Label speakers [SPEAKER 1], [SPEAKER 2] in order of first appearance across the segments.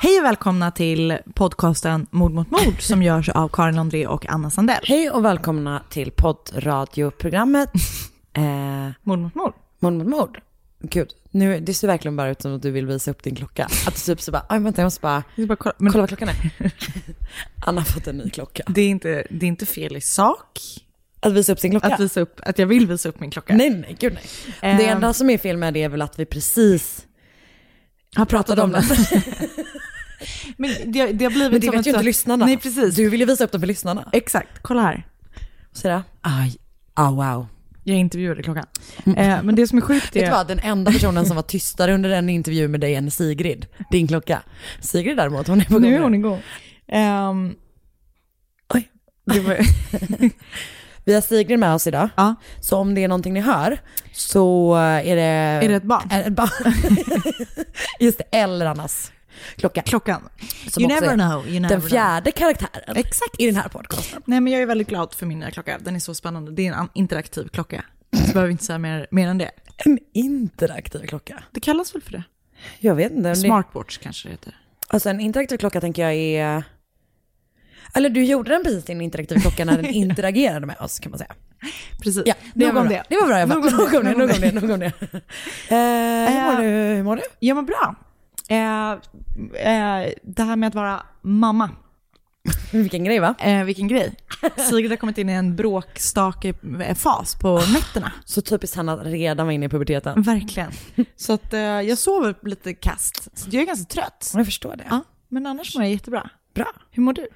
[SPEAKER 1] Hej och välkomna till podcasten Mord mot mord som görs av Karin André och Anna Sandell.
[SPEAKER 2] Hej och välkomna till poddradioprogrammet eh,
[SPEAKER 1] Mord mot mord.
[SPEAKER 2] Mord mot mord. Gud, nu, det ser verkligen bara ut som att du vill visa upp din klocka. Att du typ så bara, aj vänta jag måste bara,
[SPEAKER 1] Jag ska bara kolla- men-
[SPEAKER 2] kolla vad klockan är. Anna har fått en ny klocka.
[SPEAKER 1] Det är, inte, det är inte fel i sak
[SPEAKER 2] Att visa upp sin klocka?
[SPEAKER 1] att, visa Ehm. upp, att jag vill visa upp min klocka.
[SPEAKER 2] Nej, nej, gud nej. Det enda som är fel med det är väl att vi precis har pratat om den.
[SPEAKER 1] Men det, det har blivit
[SPEAKER 2] Men det
[SPEAKER 1] som
[SPEAKER 2] vet
[SPEAKER 1] ett
[SPEAKER 2] ju inte
[SPEAKER 1] så-
[SPEAKER 2] lyssnarna.
[SPEAKER 1] Nej, precis.
[SPEAKER 2] Du vill ju visa upp den för lyssnarna.
[SPEAKER 1] Exakt, kolla här.
[SPEAKER 2] Sira, aj, ah wow.
[SPEAKER 1] Jag intervjuade klockan. Eh, men det som är sjukt
[SPEAKER 2] Mm. Vet du
[SPEAKER 1] är...
[SPEAKER 2] vad, den enda personen som var tystare under den intervjun med dig än Sigrid, din klocka. Sigrid däremot, hon är på gång.
[SPEAKER 1] Nu är hon igång. Ehm,
[SPEAKER 2] Oj.
[SPEAKER 1] det var,
[SPEAKER 2] Vi har Sigrid med oss idag.
[SPEAKER 1] ja.
[SPEAKER 2] Så om det är någonting ni hör så är det...
[SPEAKER 1] Är det ett barn?
[SPEAKER 2] Är det ett barn? Just det, eller Annas klocka.
[SPEAKER 1] Klockan.
[SPEAKER 2] Som
[SPEAKER 1] you
[SPEAKER 2] också
[SPEAKER 1] never
[SPEAKER 2] är
[SPEAKER 1] know. You never
[SPEAKER 2] Den
[SPEAKER 1] know.
[SPEAKER 2] fjärde karaktären
[SPEAKER 1] Exakt.
[SPEAKER 2] i den här podcasten.
[SPEAKER 1] Nej men jag är väldigt glad för min nya klocka. Den är så spännande. Det är en an- interaktiv klocka. Så jag behöver inte säga mer, mer än det.
[SPEAKER 2] En interaktiv klocka.
[SPEAKER 1] Det kallas väl för det?
[SPEAKER 2] Jag vet inte. om det-
[SPEAKER 1] Smartwatch kanske det heter.
[SPEAKER 2] Alltså en interaktiv klocka tänker jag är... Eller du gjorde den precis till en interaktiv klocka när den interagerade med oss kan man säga.
[SPEAKER 1] Precis.
[SPEAKER 2] Ja,
[SPEAKER 1] Nog
[SPEAKER 2] var
[SPEAKER 1] om
[SPEAKER 2] bra.
[SPEAKER 1] det.
[SPEAKER 2] Det var bra, jag bara, nog om det, nog om det, nog om det. Eh, hur mår
[SPEAKER 1] Eh,
[SPEAKER 2] du? Hur mår du?
[SPEAKER 1] Jag mår bra. Eh, eh, det här med att vara mamma,
[SPEAKER 2] Vilken grej va?
[SPEAKER 1] eh, vilken grej. Sigrid har kommit in i en bråkstakefas på nätterna.
[SPEAKER 2] Så typiskt han att redan var inne i puberteten.
[SPEAKER 1] Verkligen. Så att, eh, jag sover lite kast. Så jag är ganska trött.
[SPEAKER 2] Jag förstår det.
[SPEAKER 1] Ja, men annars mår jag jättebra.
[SPEAKER 2] Bra.
[SPEAKER 1] Hur mår du?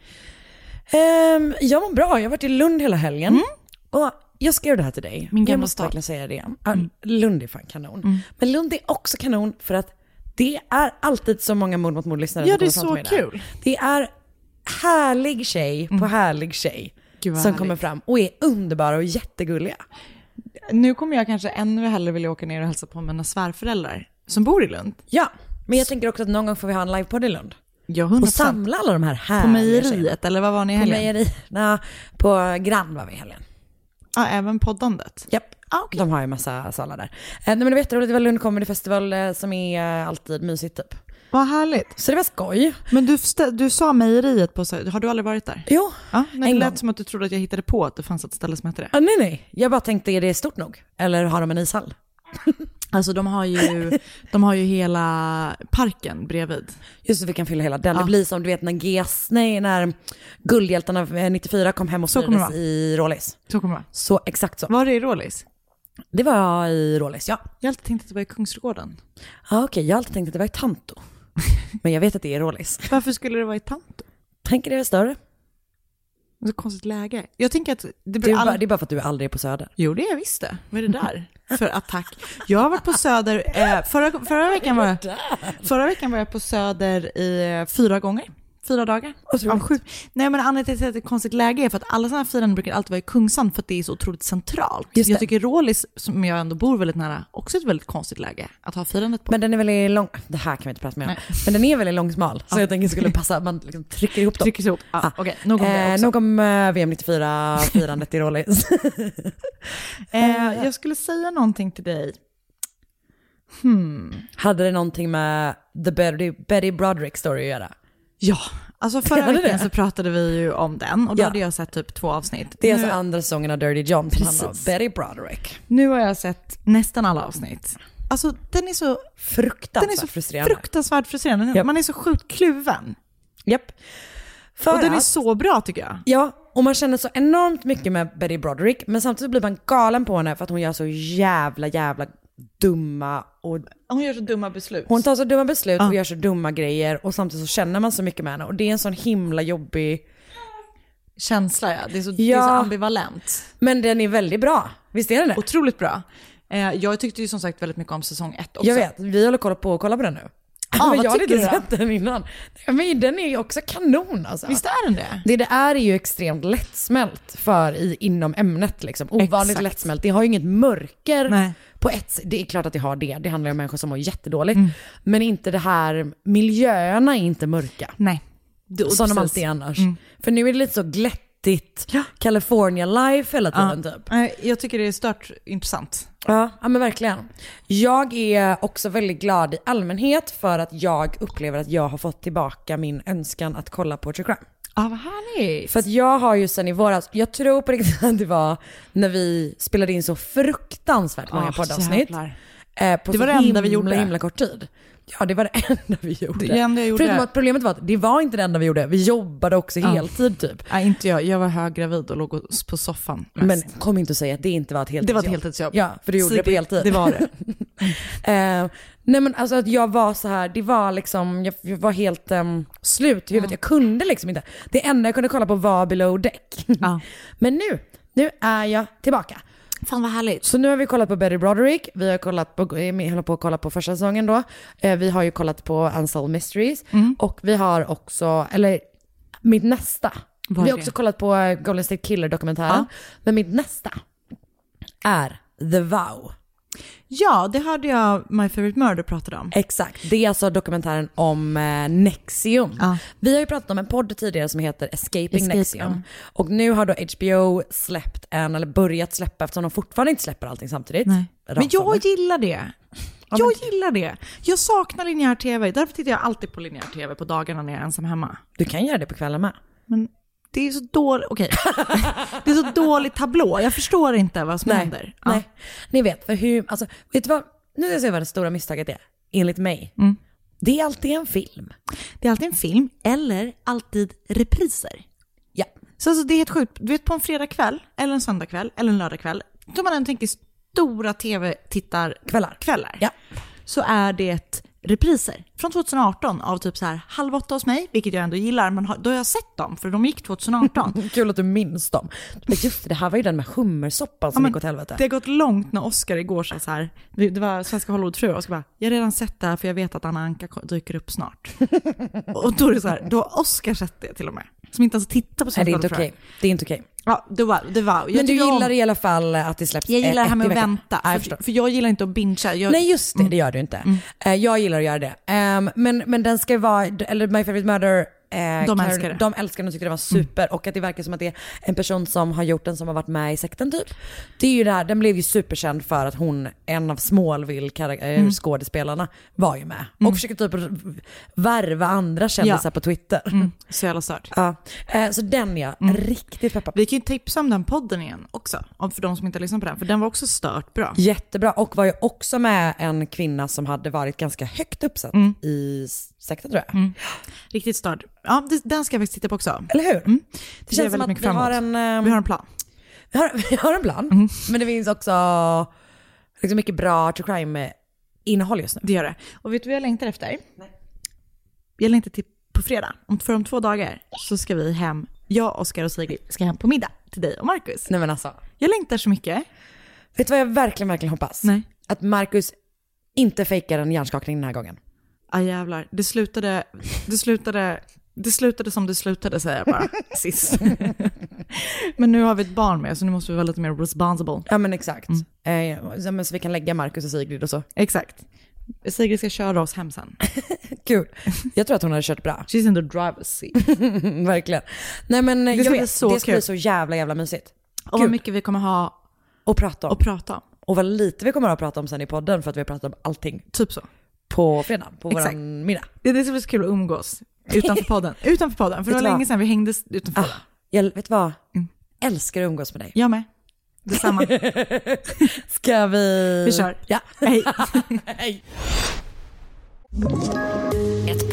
[SPEAKER 2] Ehm, jag mår bra, jag har varit i Lund hela helgen. Och jag skrev det här till dig.
[SPEAKER 1] Mm. Min
[SPEAKER 2] jag
[SPEAKER 1] gamla
[SPEAKER 2] måste
[SPEAKER 1] stad. Mm.
[SPEAKER 2] verkligen säga det igen. Ja, Lund är fan kanon. Men Lund är också kanon för att det är alltid så många mord mot mord-lyssnare
[SPEAKER 1] Ja,
[SPEAKER 2] som
[SPEAKER 1] det är
[SPEAKER 2] kommer fram till
[SPEAKER 1] så
[SPEAKER 2] mig där.
[SPEAKER 1] kul. Mm.
[SPEAKER 2] Det är härlig tjej på härlig tjej
[SPEAKER 1] Gud, vad
[SPEAKER 2] som
[SPEAKER 1] härligt.
[SPEAKER 2] kommer fram och är underbara och jättegulliga.
[SPEAKER 1] Nu kommer jag kanske ännu hellre vilja åka ner och hälsa på mina svärföräldrar som bor i Lund.
[SPEAKER 2] Ja, men jag tänker också att någon gång får vi ha en livepodd i Lund.
[SPEAKER 1] Ja,
[SPEAKER 2] Och
[SPEAKER 1] 100%.
[SPEAKER 2] samla alla de här härliga
[SPEAKER 1] På
[SPEAKER 2] tjejerna.
[SPEAKER 1] mejeriet, eller vad var ni i
[SPEAKER 2] På
[SPEAKER 1] helgen?
[SPEAKER 2] mejerierna, på Grand var vi i helgen.
[SPEAKER 1] Ja, även poddandet.
[SPEAKER 2] Japp.
[SPEAKER 1] Ah,
[SPEAKER 2] De har ju massa salar där. Eh, nej men det var jätteroligt, det var Lund Comedy Festival eh, som är eh, alltid mysigt typ.
[SPEAKER 1] Vad härligt.
[SPEAKER 2] Så det var skoj.
[SPEAKER 1] Men du, stä- du sa mejeriet på Sö- har du aldrig varit där?
[SPEAKER 2] Jo.
[SPEAKER 1] Ja, nej,
[SPEAKER 2] en
[SPEAKER 1] det lät
[SPEAKER 2] gång.
[SPEAKER 1] som att du trodde att jag hittade på att det fanns ett ställe som hette det.
[SPEAKER 2] Ah, nej nej, jag bara tänkte är det stort nog? Eller har de en ishall?
[SPEAKER 1] Alltså de har ju, de har ju hela parken bredvid.
[SPEAKER 2] Just så vi kan fylla hela den. Det blir som du vet när GS, nej när Guldhjältarna eh, 94 kom hem och
[SPEAKER 1] Så kommer det
[SPEAKER 2] firades i Rålis.
[SPEAKER 1] Så kommer det vara.
[SPEAKER 2] Så exakt så.
[SPEAKER 1] Var det i Rålis?
[SPEAKER 2] Det var i Rålis ja.
[SPEAKER 1] Jag har alltid tänkt att det var i Kungsträdgården.
[SPEAKER 2] Ja okej, jag har alltid tänkt att det var i Tanto. Men jag vet att det är Rålis.
[SPEAKER 1] Varför skulle det vara i Tanto?
[SPEAKER 2] Tänker det är större.
[SPEAKER 1] Så konstigt läge. Jag tänker att... Det
[SPEAKER 2] Det
[SPEAKER 1] blir
[SPEAKER 2] är, bara,
[SPEAKER 1] all...
[SPEAKER 2] det är bara för att du aldrig är på Söder.
[SPEAKER 1] Jo, det är jag visst det. Vad är det där för attack? Jag har varit på Söder... Eh, förra, förra, veckan var jag, förra veckan var jag på Söder i, eh, fyra gånger. fyra dagar. Av sju. Nej men anledningen till att det är ett konstigt läge är för att alla sådana här firanden brukar alltid vara i Kungsan för att det är så otroligt centralt.
[SPEAKER 2] Just det.
[SPEAKER 1] Jag tycker Rålis, som jag ändå bor väldigt nära, också ett väldigt konstigt läge att ha firandet på.
[SPEAKER 2] Men den är väldigt lång, det här kan vi inte prata mer om. Men den är väldigt långsmal. Så jag tänker skulle passa att man liksom trycker ihop dem.
[SPEAKER 1] Trycker ihop. Ja,
[SPEAKER 2] Ah.
[SPEAKER 1] Okej, nog om det
[SPEAKER 2] eh,
[SPEAKER 1] också.
[SPEAKER 2] nog om eh, VM 94-firandet i Rålis.
[SPEAKER 1] Eh, jag skulle säga någonting till dig.
[SPEAKER 2] Hade det någonting med The Betty, Betty Broderick story att göra?
[SPEAKER 1] Ja, alltså förra
[SPEAKER 2] Hade det?
[SPEAKER 1] veckan så pratade vi ju om den och då
[SPEAKER 2] Ja.
[SPEAKER 1] hade jag sett typ två avsnitt.
[SPEAKER 2] Det är
[SPEAKER 1] nu,
[SPEAKER 2] alltså andra säsongen av Dirty John som handlar om
[SPEAKER 1] Precis.
[SPEAKER 2] Betty Broderick.
[SPEAKER 1] nu har jag sett nästan alla avsnitt. Alltså den är så, den är
[SPEAKER 2] Fruktansvärt
[SPEAKER 1] så
[SPEAKER 2] frustrerande.
[SPEAKER 1] fruktansvärt frustrerande.
[SPEAKER 2] Ja.
[SPEAKER 1] Man är så sjukt kluven.
[SPEAKER 2] Japp. För
[SPEAKER 1] Och den är
[SPEAKER 2] att-
[SPEAKER 1] så bra tycker jag.
[SPEAKER 2] Ja, och man känner så enormt mycket med Betty Broderick, men samtidigt blir man galen på henne för att hon gör så jävla, jävla dumma och
[SPEAKER 1] Hon gör så dumma beslut.
[SPEAKER 2] hon tar så dumma beslut och gör så dumma grejer och samtidigt så känner man så mycket med henne och det är en sån himla jobbig,
[SPEAKER 1] Känsla ja, det är så, det är
[SPEAKER 2] Ja.
[SPEAKER 1] så ambivalent.
[SPEAKER 2] men den är väldigt bra. Visst är den det?
[SPEAKER 1] Otroligt bra. Eh, jag tyckte ju som sagt väldigt mycket om säsong ett också.
[SPEAKER 2] Jag vet, vi håller koll på att kolla på den nu.
[SPEAKER 1] Ah,
[SPEAKER 2] men
[SPEAKER 1] vad
[SPEAKER 2] jag hade
[SPEAKER 1] tycker
[SPEAKER 2] inte
[SPEAKER 1] du då?
[SPEAKER 2] sett den innan. Nej, Men den är ju också kanon alltså.
[SPEAKER 1] Visst är den det?
[SPEAKER 2] Det det är är ju extremt lättsmält för i, inom ämnet liksom. Ovanligt
[SPEAKER 1] Exakt.
[SPEAKER 2] lättsmält. Det har ju inget mörker
[SPEAKER 1] Nej.
[SPEAKER 2] på ett sätt. Det är klart att det har det. Det handlar ju om människor som mår jättedåligt.
[SPEAKER 1] Mm.
[SPEAKER 2] Men inte det här, miljöerna är inte mörka.
[SPEAKER 1] Nej.
[SPEAKER 2] som de alltid är annars.
[SPEAKER 1] Mm.
[SPEAKER 2] För nu är det lite så glättigt California life hela tiden typ.
[SPEAKER 1] Nej, jag tycker det är stört intressant.
[SPEAKER 2] Ja. ja men verkligen. Jag är också väldigt glad i allmänhet för att jag upplever att jag har fått tillbaka min önskan att kolla på true crime.
[SPEAKER 1] Ja, vad härligt.
[SPEAKER 2] För att jag har ju sen i våras, jag tror på riktigt att det var när vi spelade in så fruktansvärt många
[SPEAKER 1] Ah,
[SPEAKER 2] poddavsnitt.
[SPEAKER 1] jävlar.
[SPEAKER 2] Eh, på
[SPEAKER 1] Det var
[SPEAKER 2] så
[SPEAKER 1] det enda vi
[SPEAKER 2] himla,
[SPEAKER 1] gjorde.
[SPEAKER 2] himla kort tid. Ja det var det enda vi gjorde.
[SPEAKER 1] Det enda jag gjorde.
[SPEAKER 2] Förutom att problemet var att det var inte det enda vi gjorde, vi jobbade också heltid typ.
[SPEAKER 1] Nej, inte jag. Jag var höggravid och låg och- på soffan. mest.
[SPEAKER 2] Men kom inte och säg att det inte var ett heltidsjobb.
[SPEAKER 1] det var ett heltidsjobb.
[SPEAKER 2] Ja, för du gjorde det på
[SPEAKER 1] Sigrid,
[SPEAKER 2] heltid.
[SPEAKER 1] Det var det.
[SPEAKER 2] Eh, nej men alltså att jag var så här, det var liksom, jag, jag var helt ehm, slut i huvudet. Jag kunde liksom inte. Det enda jag kunde kolla på var below deck.
[SPEAKER 1] Ja.
[SPEAKER 2] men nu, nu är jag tillbaka.
[SPEAKER 1] Fan vad härligt.
[SPEAKER 2] Så nu har vi kollat på Betty Broderick, vi har kollat på, eh, vi håller på att kolla på första säsongen då. Eh, Vi har ju kollat på Unsolved Mysteries
[SPEAKER 1] Mm.
[SPEAKER 2] och vi har också, eller mitt nästa.
[SPEAKER 1] Vad är
[SPEAKER 2] vi har
[SPEAKER 1] det?
[SPEAKER 2] också kollat på eh, Golden State Killer-dokumentären. Men mitt nästa är The Vow.
[SPEAKER 1] Ja, det hörde jag My Favorite Murder pratade
[SPEAKER 2] Eh,
[SPEAKER 1] om.
[SPEAKER 2] Exakt, det är alltså dokumentären om eh, Nexium.
[SPEAKER 1] Ja.
[SPEAKER 2] Vi har ju pratat om en podd tidigare som heter Escaping
[SPEAKER 1] Escape,
[SPEAKER 2] Nexium.
[SPEAKER 1] ja.
[SPEAKER 2] Och nu har då HBO släppt en, eller börjat släppa eftersom de fortfarande inte släpper allting samtidigt.
[SPEAKER 1] Nej. Men
[SPEAKER 2] Rasande.
[SPEAKER 1] jag gillar det. Jag gillar det. Jag saknar linjär tv. Därför tittar jag alltid på linjär tv på dagarna när jag är ensam hemma.
[SPEAKER 2] Du kan göra det på kvällen med.
[SPEAKER 1] Men det är så dålig, okej. det är så dålig tablå. Jag förstår inte vad som händer. Ja.
[SPEAKER 2] Nej. Ni vet, för hur, alltså, vet du vad, nu ska jag säga vad det stora misstaget är, enligt mig.
[SPEAKER 1] Mm.
[SPEAKER 2] Det är alltid en film.
[SPEAKER 1] Det är alltid en film eller alltid repriser.
[SPEAKER 2] Ja.
[SPEAKER 1] Så alltså, det är helt sjukt. Du vet på en fredagkväll eller en söndagkväll eller en lördagkväll, då man än tänker stora tv-tittarkvällar, kvällar,
[SPEAKER 2] Ja.
[SPEAKER 1] så är det repriser från 2018 av typ så här halv åtta hos mig, vilket jag ändå gillar, men har- då har jag sett dem för de gick 2018.
[SPEAKER 2] Kul att du minns dem. Men just det, det här var ju den med hummersoppan som
[SPEAKER 1] men
[SPEAKER 2] gick åt helvete.
[SPEAKER 1] Det har gått långt när Oscar igår sa så här, det det var Svenska Hollywoodfruar, och ska bara, jag har redan sett det här för jag vet att Anna Anka ko- dyker upp snart. och då är det så här, då har Oscar sett det till och med. Som inte ens tittar på
[SPEAKER 2] Nej,
[SPEAKER 1] Svenska
[SPEAKER 2] det är inte
[SPEAKER 1] Hollywoodfruar.
[SPEAKER 2] okej. Det är inte okej.
[SPEAKER 1] Ja, det var, det var. Jag
[SPEAKER 2] Men du
[SPEAKER 1] tycker om-
[SPEAKER 2] gillar i alla fall att det släpps
[SPEAKER 1] Jag
[SPEAKER 2] eh,
[SPEAKER 1] gillar det här
[SPEAKER 2] ett
[SPEAKER 1] med
[SPEAKER 2] i
[SPEAKER 1] att
[SPEAKER 2] veckan.
[SPEAKER 1] vänta.
[SPEAKER 2] Ja, jag förstår.
[SPEAKER 1] för, för jag gillar inte att bingea. Jag, Mm.
[SPEAKER 2] Nej just det, det gör du inte. Eh, jag gillar att göra det. Ehm, men, men den ska ju vara, eller My Favorite Murder, eh, Claire-
[SPEAKER 1] älskar det. Mm.
[SPEAKER 2] de älskar den och tycker det var super. Och att det verkar som att det är en person som har gjort den som har varit med i sekten typ. Det är ju det här, den blev ju superkänd för att hon, en av Smallville karak- eh,
[SPEAKER 1] Mm.
[SPEAKER 2] skådespelarna, var ju med. Och försöker typ r- värva andra kändisar
[SPEAKER 1] Ja. Mm.
[SPEAKER 2] på Twitter.
[SPEAKER 1] så jävla stört.
[SPEAKER 2] Ja. Eh, så den är jag
[SPEAKER 1] Mm.
[SPEAKER 2] riktigt peppad på.
[SPEAKER 1] Vi kan ju tipsa om den podden igen också. Om för de som inte har lyssnat på den. För den var också stört bra.
[SPEAKER 2] Jättebra och var ju också med en kvinna som hade varit ganska högt uppsatt i sekten tror jag.
[SPEAKER 1] Riktigt stört. Ja, det, den ska jag faktiskt titta på också.
[SPEAKER 2] Eller hur? Mm. Det
[SPEAKER 1] ser jag
[SPEAKER 2] känns som
[SPEAKER 1] väldigt
[SPEAKER 2] att
[SPEAKER 1] mycket
[SPEAKER 2] vi har,
[SPEAKER 1] fram
[SPEAKER 2] en, Mm. ehm,
[SPEAKER 1] Vi har en plan.
[SPEAKER 2] vi, har, vi har en plan, men det finns också liksom mycket bra true crime-innehåll just nu.
[SPEAKER 1] Det gör det. Och vet du vad jag längtar efter? Jag längtar till på fredag. Om, för om två dagar så ska vi hem. Jag, Oscar och Sigrid ska hem på middag till dig och Markus.
[SPEAKER 2] Nej men alltså,
[SPEAKER 1] Jag längtar så mycket.
[SPEAKER 2] vet du vad jag verkligen, verkligen hoppas?
[SPEAKER 1] Nej.
[SPEAKER 2] Att Marcus inte fejkar en hjärnskakning den här gången.
[SPEAKER 1] Ah, jävlar. Det slutade, det slutade Det slutade som det slutade säger jag bara sist. Men nu har vi ett barn med så nu måste vi vara lite mer responsible.
[SPEAKER 2] Ja men exakt. Eh, ja, men så vi kan lägga Marcus och Sigrid och så.
[SPEAKER 1] Exakt. Sigrid ska köra oss hem sen.
[SPEAKER 2] Kul. Jag tror att hon hade kört bra.
[SPEAKER 1] She's in the driver's seat.
[SPEAKER 2] Verkligen. Nej men det
[SPEAKER 1] ska
[SPEAKER 2] jag
[SPEAKER 1] bli
[SPEAKER 2] vet,
[SPEAKER 1] så
[SPEAKER 2] det ska bli
[SPEAKER 1] kul.
[SPEAKER 2] så jävla jävla mysigt.
[SPEAKER 1] Och
[SPEAKER 2] Kul.
[SPEAKER 1] vad mycket vi kommer ha
[SPEAKER 2] Och prata om.
[SPEAKER 1] att prata om.
[SPEAKER 2] Och vad lite vi kommer att prata om sen i podden för att vi har pratat om allting
[SPEAKER 1] Typ så.
[SPEAKER 2] på fredag, på
[SPEAKER 1] Exakt.
[SPEAKER 2] våran middag.
[SPEAKER 1] Det, det ska bli så kul att umgås utanför podden. Utanför podden, för det
[SPEAKER 2] Vet
[SPEAKER 1] var
[SPEAKER 2] du vad?
[SPEAKER 1] länge sedan vi hängdes utanför.
[SPEAKER 2] Ah, jag vet du vad? Älskar att umgås med dig.
[SPEAKER 1] Jag med. Detsamma.
[SPEAKER 2] Ska vi...
[SPEAKER 1] Vi kör.
[SPEAKER 2] Ja.
[SPEAKER 1] Hej.
[SPEAKER 2] Hej.
[SPEAKER 3] Ett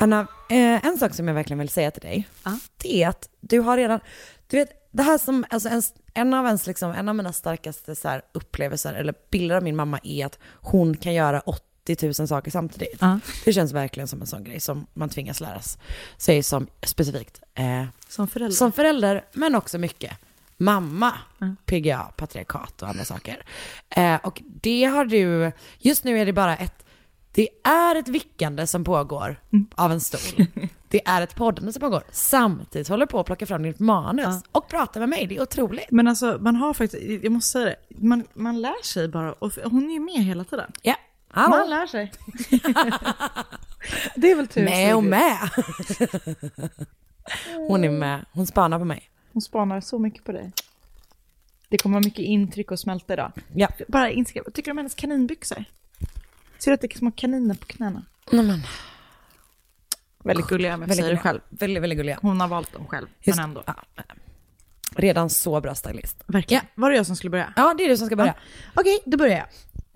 [SPEAKER 2] Anna, eh, en sak som jag verkligen vill säga till dig, det är att du har redan, du vet det här som, alltså en, en, av ens, liksom, en av mina starkaste så här, upplevelser eller bilder av min mamma är att hon kan göra 80 000 saker samtidigt.
[SPEAKER 1] Ja.
[SPEAKER 2] Det känns verkligen som en sån grej som man tvingas läras sig som specifikt eh,
[SPEAKER 1] Som förälder.
[SPEAKER 2] som förälder, men också mycket mamma,
[SPEAKER 1] Mm.
[SPEAKER 2] PGA, patriarkat och andra saker. Eh, och det har du, just nu är det bara ett, det är ett vickande som pågår
[SPEAKER 1] Mm.
[SPEAKER 2] av en stol. Det är ett poddande som pågår. Samtidigt håller du på att plocka fram ditt manus och prata med mig, det är otroligt.
[SPEAKER 1] Men alltså man har faktiskt, jag måste säga det, man, man lär sig bara. Och f- hon är ju med hela tiden.
[SPEAKER 2] Ja,
[SPEAKER 1] Man
[SPEAKER 2] hallå.
[SPEAKER 1] lär sig. det är väl tur.
[SPEAKER 2] Med och
[SPEAKER 1] Sigrid.
[SPEAKER 2] med. Hon är med, hon spanar på mig.
[SPEAKER 1] Hon spanar så mycket på dig. Det kommer vara mycket intryck och smälta idag.
[SPEAKER 2] Ja.
[SPEAKER 1] Bara Instagram. Vad tycker du om hennes kaninbyxor? Ser du att det är små kaniner på knäna?
[SPEAKER 2] Nej, men,
[SPEAKER 1] Väldigt gulliga om jag säger det
[SPEAKER 2] gulliga.
[SPEAKER 1] själv.
[SPEAKER 2] Väldigt, väldigt gulliga.
[SPEAKER 1] Hon har valt dem själv,
[SPEAKER 2] Just-
[SPEAKER 1] men ändå.
[SPEAKER 2] Ja. Redan så bra stylist.
[SPEAKER 1] Verkligen. Var det jag som skulle börja?
[SPEAKER 2] Ja, det är du som ska börja.
[SPEAKER 1] Okej, då börjar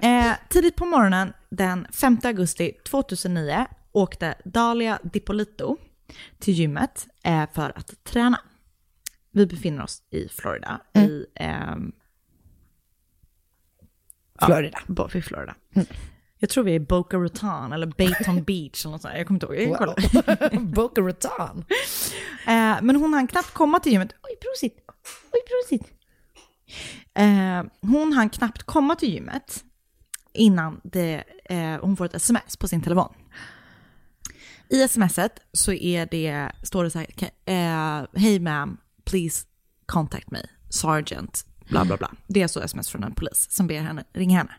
[SPEAKER 1] jag. Eh, tidigt på morgonen den 5 augusti 2009 åkte Dalia Dipolito till gymmet eh, för att träna. Vi befinner oss i Florida, i ehm,
[SPEAKER 2] Florida.
[SPEAKER 1] Bo- i Florida. Jag tror vi är i Boca Raton eller Baton Beach eller något sånt. där. Jag kommer inte ihåg. Jag kan kolla.
[SPEAKER 2] Boca Raton.
[SPEAKER 1] Eh, men hon hann knappt komma till gymmet. Oj, prosit. Oj, prosit. Eh, hon hann knappt komma till gymmet innan det, eh, hon får ett sms på sin telefon. I smset så är det, står det så här, "Ka- eh, hej ma'am, please contact me, sergeant, bla bla bla. Det är så sms från en polis som ber henne ringa henne,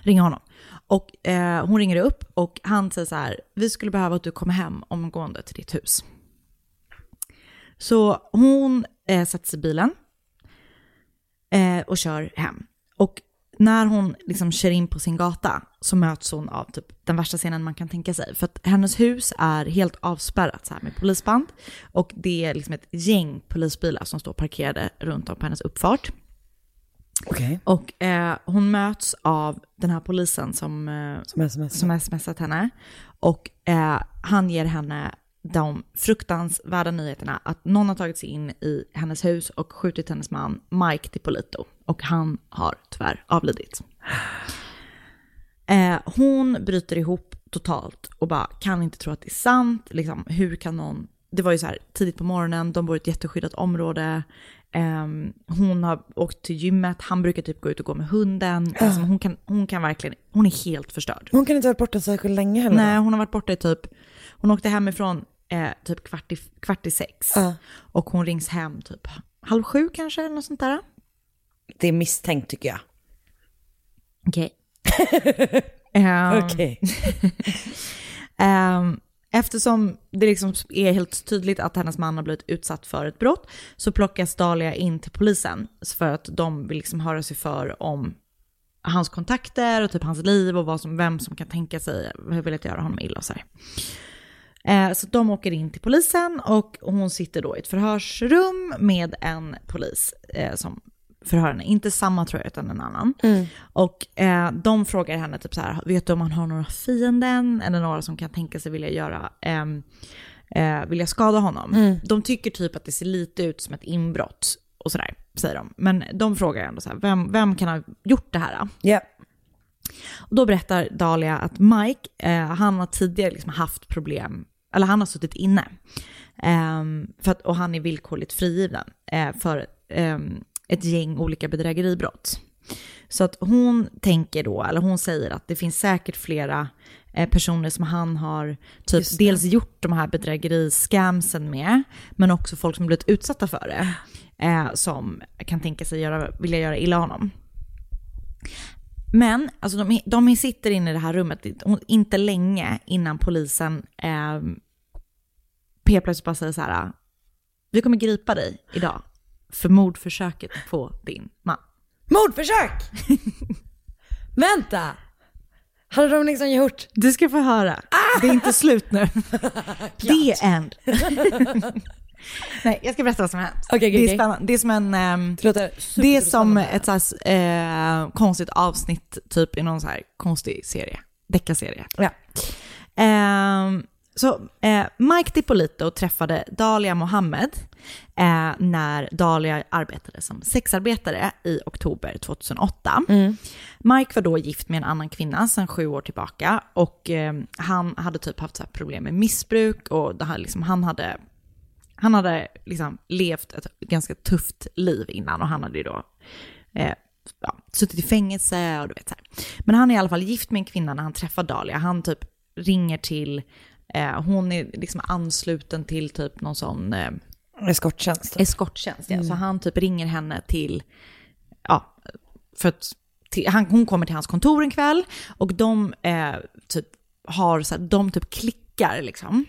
[SPEAKER 1] ringa honom. Och eh, hon ringer upp och han säger så här, vi skulle behöva att du kommer hem omgående till ditt hus. Så hon eh, sätter sig i bilen eh, och kör hem. Och när hon liksom kör in på sin gata så möts hon av typ den värsta scenen man kan tänka sig. För att hennes hus är helt avspärrat så här med polisband. Och det är liksom ett gäng polisbilar som står parkerade runt om på hennes uppfart. Och eh, hon möts av den här polisen som, eh,
[SPEAKER 2] Som sms.
[SPEAKER 1] som har smsat henne. Och eh, han ger henne de fruktansvärda nyheterna att någon har tagit sig in i hennes hus och skjutit hennes man Mike DiPolito. Och han har tyvärr avlidit. Eh, hon bryter ihop totalt och bara kan inte tro att det är sant. Liksom, hur kan någon... Det var ju så här tidigt på morgonen, de bor i ett jätteskyddat område. Ehm, hon har åkt till gymmet, han brukar typ gå ut och gå med hunden. Alltså, hon, kan, hon kan verkligen, hon är helt förstörd.
[SPEAKER 2] Hon kan inte ha varit borta särskilt länge heller.
[SPEAKER 1] Nej, hon har varit borta i typ, hon åkte hemifrån eh, typ kvart i, kvart i sex. Och hon rings hem typ halv sju kanske, eller något sånt där.
[SPEAKER 2] Det är misstänkt tycker jag.
[SPEAKER 1] Okej. Ehm,
[SPEAKER 2] Okej.
[SPEAKER 1] Ehm, eftersom det liksom är helt tydligt att hennes man har blivit utsatt för ett brott så plockas Dahlia in till polisen för att de vill liksom höra sig för om hans kontakter och typ hans liv och vad som, vem som kan tänka sig vilja göra honom illa och så här. Eh, Så de åker in till polisen och hon sitter då i ett förhörsrum med en polis eh, som förhörarna, inte samma tror jag utan en annan. Och eh, de frågar henne typ så här, vet du om han har några fienden eller några som kan tänka sig vilja göra, ehm, eh, vilja skada honom. De tycker typ att det ser lite ut som ett inbrott och sådär, säger de. Men de frågar ändå så här, vem, vem kan ha gjort det här? Då?
[SPEAKER 2] Ja.
[SPEAKER 1] Och då berättar Dahlia att Mike, eh, han har tidigare liksom haft problem, eller han har suttit inne. Ehm, för att, och han är villkorligt frigiven eh, för ehm, ett gäng olika bedrägeribrott. Så att hon tänker då, eller hon säger att det finns säkert flera eh, personer som han har typ dels gjort de här bedrägeriscamsen med, men också folk som blivit utsatta för det, eh, som kan tänka sig göra, vilja göra illa honom. Men alltså de, de sitter inne i det här rummet hon- inte länge innan polisen eh, helt plötsligt bara säger så här, vi kommer gripa dig idag för mordförsöket på din man.
[SPEAKER 2] Mordförsök! Vänta! Hade de liksom gjort?
[SPEAKER 1] Du ska få höra, det är inte slut nu. Det är end. Nej, jag ska berätta vad som har hänt.
[SPEAKER 2] Okej, okej,
[SPEAKER 1] det är
[SPEAKER 2] okej.
[SPEAKER 1] spännande. Det är som en... ehm,
[SPEAKER 2] Det låter
[SPEAKER 1] det är som
[SPEAKER 2] superspännande.
[SPEAKER 1] ett så här, eh, konstigt avsnitt typ i någon så här konstig serie, deckarserie.
[SPEAKER 2] Ja.
[SPEAKER 1] Ehm, så eh, Mike Dipolito träffade Dalia Mohammed eh, när Dalia arbetade som sexarbetare i oktober 2008. Mike var då gift med en annan kvinna sedan sju år tillbaka och eh, han hade typ haft så här problem med missbruk och det här, liksom, han hade han hade liksom levt ett ganska tufft liv innan och han hade ju då eh, ja, suttit i fängelse och du vet så här. Men han är i alla fall gift med en kvinna när han träffar Dahlia. Han typ ringer till, eh, hon är liksom ansluten till typ någon sån eh,
[SPEAKER 2] Eskorttjänst.
[SPEAKER 1] eskorttjänst. Ja. Så han typ ringer henne till, ja, för att till, han, hon kommer till hans kontor en kväll och de eh, typ har så här, de typ klickar liksom.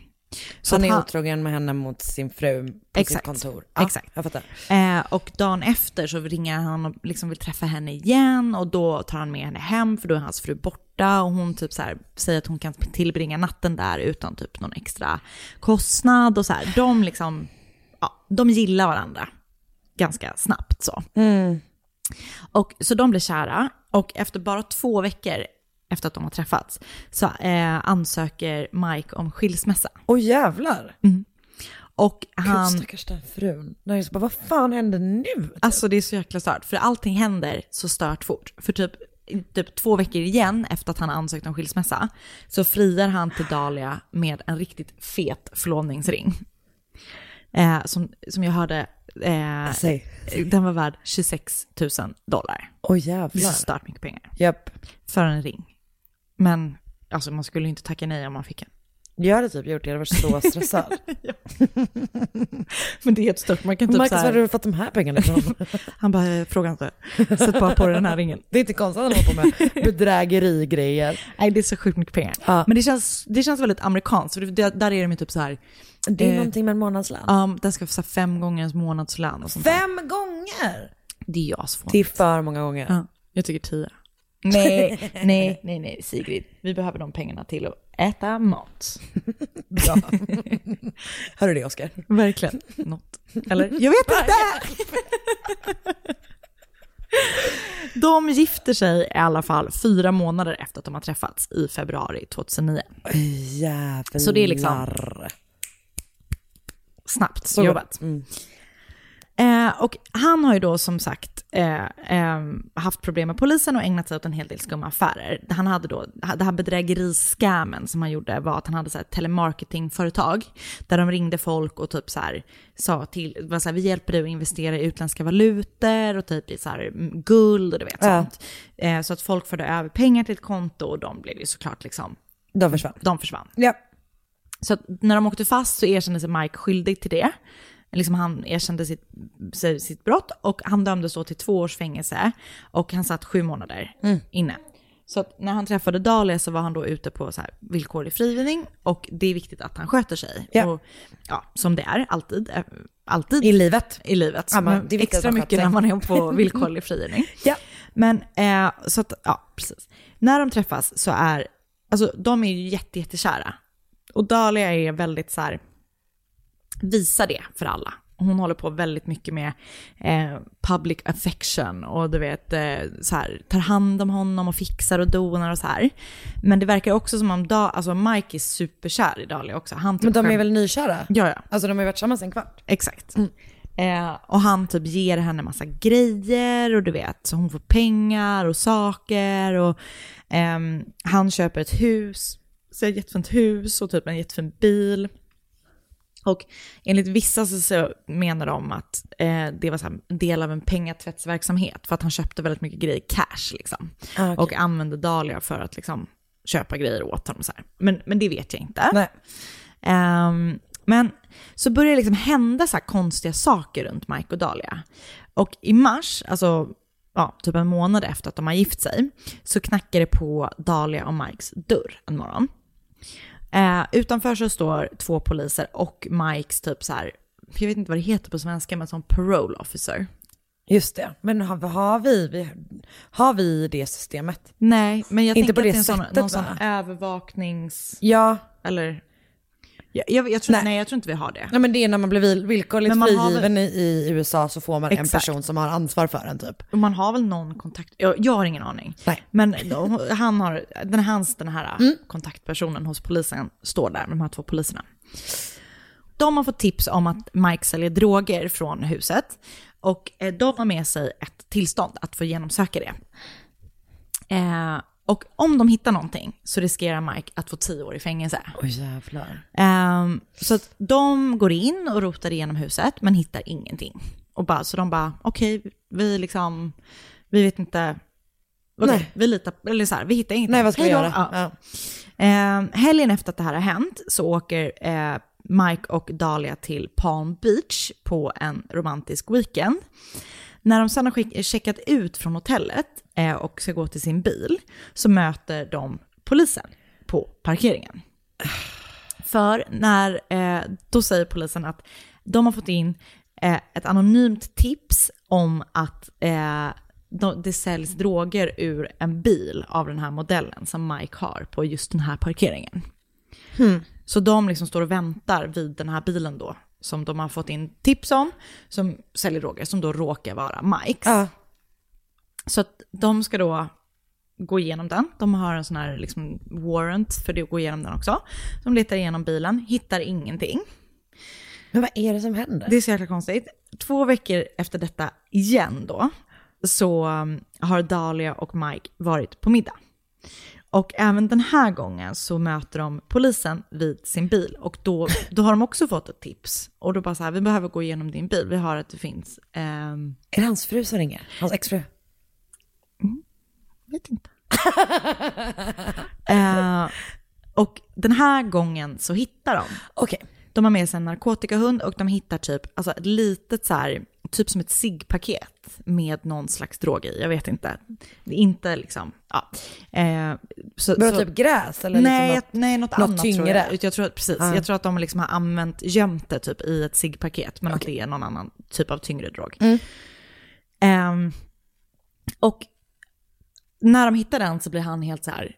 [SPEAKER 1] Så
[SPEAKER 2] han
[SPEAKER 1] att
[SPEAKER 2] är otrogen med henne mot sin fru på
[SPEAKER 1] Exakt.
[SPEAKER 2] sitt kontor.
[SPEAKER 1] Exakt.
[SPEAKER 2] Jag fattar.
[SPEAKER 1] Eh, och dagen efter så ringer han och liksom vill träffa henne igen och då tar han med henne hem för då är hans fru borta och hon typ så här, säger att hon kan tillbringa natten där utan typ någon extra kostnad och så här. De liksom, ja, de gillar varandra ganska snabbt så. Och, så de blir kära och efter bara två veckor efter att de har träffats så eh, ansöker Mike om skilsmässa.
[SPEAKER 2] Åh jävlar.
[SPEAKER 1] Och
[SPEAKER 2] Gud
[SPEAKER 1] han...
[SPEAKER 2] stackars den frun. Nej, jag bara, vad fan händer nu?
[SPEAKER 1] Alltså det är så jäkla stört, för allting händer så stört fort. För typ, typ två veckor igen efter att han ansökt om skilsmässa så friar han till Dahlia med en riktigt fet förlovningsring. Eh, som, som jag hörde, eh,
[SPEAKER 2] Säg.
[SPEAKER 1] den var värd 26 000 dollar.
[SPEAKER 2] Åh
[SPEAKER 1] Det är så
[SPEAKER 2] jävlar.
[SPEAKER 1] stört mycket pengar
[SPEAKER 2] Japp.
[SPEAKER 1] för en ring. Men alltså man skulle ju inte tacka nej om man fick en.
[SPEAKER 2] Jag hade typ gjort det, jag hade varit så stressad.
[SPEAKER 1] Men det är helt stört, man kan typ
[SPEAKER 2] Marcus,
[SPEAKER 1] så
[SPEAKER 2] var har
[SPEAKER 1] här,
[SPEAKER 2] du fått de här pengarna ifrån?
[SPEAKER 1] han bara, "Eh, fråga inte, sätt bara på dig den här ringen.
[SPEAKER 2] Det är inte konstigt att han håller på med bedrägerigrejer.
[SPEAKER 1] Nej, det är så sjukt mycket pengar.
[SPEAKER 2] Ja.
[SPEAKER 1] Men det känns, det känns väldigt amerikanskt, för det, där är de ju typ så här,
[SPEAKER 2] Det är
[SPEAKER 1] Eh.
[SPEAKER 2] någonting med en månadslön.
[SPEAKER 1] um, den ska få så här fem gånger ens månadslön och sånt där.
[SPEAKER 2] Fem gånger!
[SPEAKER 1] Det är ju asfånigt.
[SPEAKER 2] Det är för många gånger.
[SPEAKER 1] Ja, jag tycker tio. Nej, nej, nej, nej, Sigrid. Vi behöver de pengarna till att äta mat.
[SPEAKER 2] Ja. Hör du det Oskar?
[SPEAKER 1] Verkligen. Något. Eller? Jag vet inte! De gifter sig i alla fall fyra månader efter att de har träffats i februari 2009.
[SPEAKER 2] Jävlar.
[SPEAKER 1] Så det är liksom- Snabbt jobbat. Eh, och han har ju då som sagt eh, eh, haft problem med polisen och ägnat sig åt en hel del skumma affärer. Han hade då, det här bedrägeriscammen som han gjorde var att han hade så här telemarketingföretag där de ringde folk och typ så här sa till, var så här, vi hjälper dig att investera i utländska valutor och typ i så här mm, guld och du vet sånt. Eh, så att folk förde över pengar till ett konto och de blev ju såklart liksom,
[SPEAKER 2] De försvann.
[SPEAKER 1] de försvann.
[SPEAKER 2] Ja.
[SPEAKER 1] Så att när de åkte fast så erkände sig Mike skyldig till det. Liksom han erkände sitt, sig- sitt brott och han dömdes då till två års fängelse och han satt sju månader
[SPEAKER 2] Mm.
[SPEAKER 1] inne. Så att när han träffade Dahlia så var han då ute på så här villkorlig frigivning och det är viktigt att han sköter sig.
[SPEAKER 2] Ja.
[SPEAKER 1] Och, ja, som det är alltid. eh, alltid
[SPEAKER 2] I livet.
[SPEAKER 1] i livet.
[SPEAKER 2] Ja, men
[SPEAKER 1] Men
[SPEAKER 2] det är viktigt
[SPEAKER 1] extra
[SPEAKER 2] att man
[SPEAKER 1] mycket
[SPEAKER 2] sköter
[SPEAKER 1] när
[SPEAKER 2] sig.
[SPEAKER 1] man är på villkorlig frigivning.
[SPEAKER 2] Ja.
[SPEAKER 1] Men eh, så att, ja, precis. När de träffas så är, alltså de är ju jätte, jättekära. Och Dahlia är väldigt så här, visa det för alla. hon håller på väldigt mycket med eh, public affection och du vet, eh, så här, tar hand om honom och fixar och donar och så här. Men det verkar också som om da, alltså Mike är superkär i Dahlia också. Han typ
[SPEAKER 2] Men de är
[SPEAKER 1] själv-
[SPEAKER 2] väl nykära?
[SPEAKER 1] Ja, ja.
[SPEAKER 2] Alltså de har ju varit tillsammans en kvart.
[SPEAKER 1] Exakt.
[SPEAKER 2] Mm.
[SPEAKER 1] Eh, och han typ ger henne massa grejer och du vet, så hon får pengar och saker och ehm, han köper ett hus, så ett jättefint hus och typ en jättefin bil. Och enligt vissa så, så menar de att eh, det var så här, en del av en pengatvättsverksamhet för att han köpte väldigt mycket grejer cash liksom.
[SPEAKER 2] Ah, okej.
[SPEAKER 1] Och använde Dahlia för att liksom köpa grejer åt honom så här. Men, men det vet jag inte.
[SPEAKER 2] Nej.
[SPEAKER 1] Ehm, men så börjar det liksom hända så här konstiga saker runt Mike och Dahlia. Och i mars, alltså ja, typ en månad efter att de har gift sig, så knackar det på Dahlia och Mikes dörr en morgon. Eh, utanför så står två poliser och Mikes typ så här, jag vet inte vad det heter på svenska, men som parole officer.
[SPEAKER 2] Just det. Men har, har, vi, vi, har vi det systemet?
[SPEAKER 1] Nej, men jag
[SPEAKER 2] Inte
[SPEAKER 1] tänker
[SPEAKER 2] på
[SPEAKER 1] att
[SPEAKER 2] det
[SPEAKER 1] det är en sån,
[SPEAKER 2] sättet,
[SPEAKER 1] någon sån
[SPEAKER 2] va?
[SPEAKER 1] övervaknings...
[SPEAKER 2] Ja.
[SPEAKER 1] Eller... Jag, jag, jag tror, nej.
[SPEAKER 2] Nej.
[SPEAKER 1] jag tror inte vi har det.
[SPEAKER 2] Nej men det är när man blir vil- villkorligt
[SPEAKER 1] Men man har
[SPEAKER 2] frigiven i, i USA så får man en
[SPEAKER 1] Exakt.
[SPEAKER 2] person som har ansvar för en typ.
[SPEAKER 1] Och Man har väl någon kontakt, jag, jag har ingen aning.
[SPEAKER 2] Nej.
[SPEAKER 1] Men de- han har, den, hans, den här kontaktpersonen hos polisen står där, de här två poliserna. De har fått tips om att Mike säljer droger från huset och eh, de har med sig ett tillstånd att få genomsöka det. Eh, och om de hittar någonting så riskerar Mike att få tio år i fängelse.
[SPEAKER 2] Oj jävlar.
[SPEAKER 1] Ehm, så att de går in och rotar igenom huset men hittar ingenting. Och bara, så de bara, okej, vi liksom, vi vet inte, okej,
[SPEAKER 2] Nej.
[SPEAKER 1] vi litar, eller så här, vi hittar ingenting.
[SPEAKER 2] Nej vad ska vi
[SPEAKER 1] Hej då.
[SPEAKER 2] göra?
[SPEAKER 1] Ja.
[SPEAKER 2] Ja.
[SPEAKER 1] Ehm, helgen efter att det här har hänt så åker eh, Mike och Dahlia till Palm Beach på en romantisk weekend. När de sedan har skick- checkat ut från hotellet eh, och ska gå till sin bil så möter de polisen på parkeringen. För när, eh, då säger polisen att de har fått in eh, ett anonymt tips om att eh, de, det säljs droger ur en bil av den här modellen som Mike har på just den här parkeringen. Så de liksom står och väntar vid den här bilen då, som de har fått in tips om, som säljer droger, som då råkar vara Mikes.
[SPEAKER 2] Ja.
[SPEAKER 1] Så att de ska då gå igenom den. De har en sån här liksom warrant för det att gå igenom den också. De letar igenom bilen, hittar ingenting.
[SPEAKER 2] Men vad är det som händer?
[SPEAKER 1] Det är så jäkla konstigt. Två veckor efter detta igen då, så um, har Dahlia och Mike varit på middag. Och även den här gången så möter de polisen vid sin bil och då, då har de också fått ett tips. Och då bara så här, vi behöver gå igenom din bil, vi har att det finns, ehm,
[SPEAKER 2] Är det hans fru som ringer? Hans exfru?
[SPEAKER 1] vet inte. Eh, och den här gången så hittar de
[SPEAKER 2] Okej.
[SPEAKER 1] De har med sig en narkotikahund och de hittar typ, alltså ett litet så här, typ som ett ciggpaket med någon slags drog i. Jag vet inte. Det är inte liksom, ja. Eh, så,
[SPEAKER 2] Var
[SPEAKER 1] så-
[SPEAKER 2] det typ gräs eller
[SPEAKER 1] nej,
[SPEAKER 2] liksom något?
[SPEAKER 1] nej, något,
[SPEAKER 2] något
[SPEAKER 1] annat tror
[SPEAKER 2] tyngre?
[SPEAKER 1] jag. jag tror, att- precis, jag tror att de liksom har använt, gömt det typ i ett ciggpaket, men att det är någon annan typ av tyngre drog. Ehm, och när de hittar den så blir han helt så här,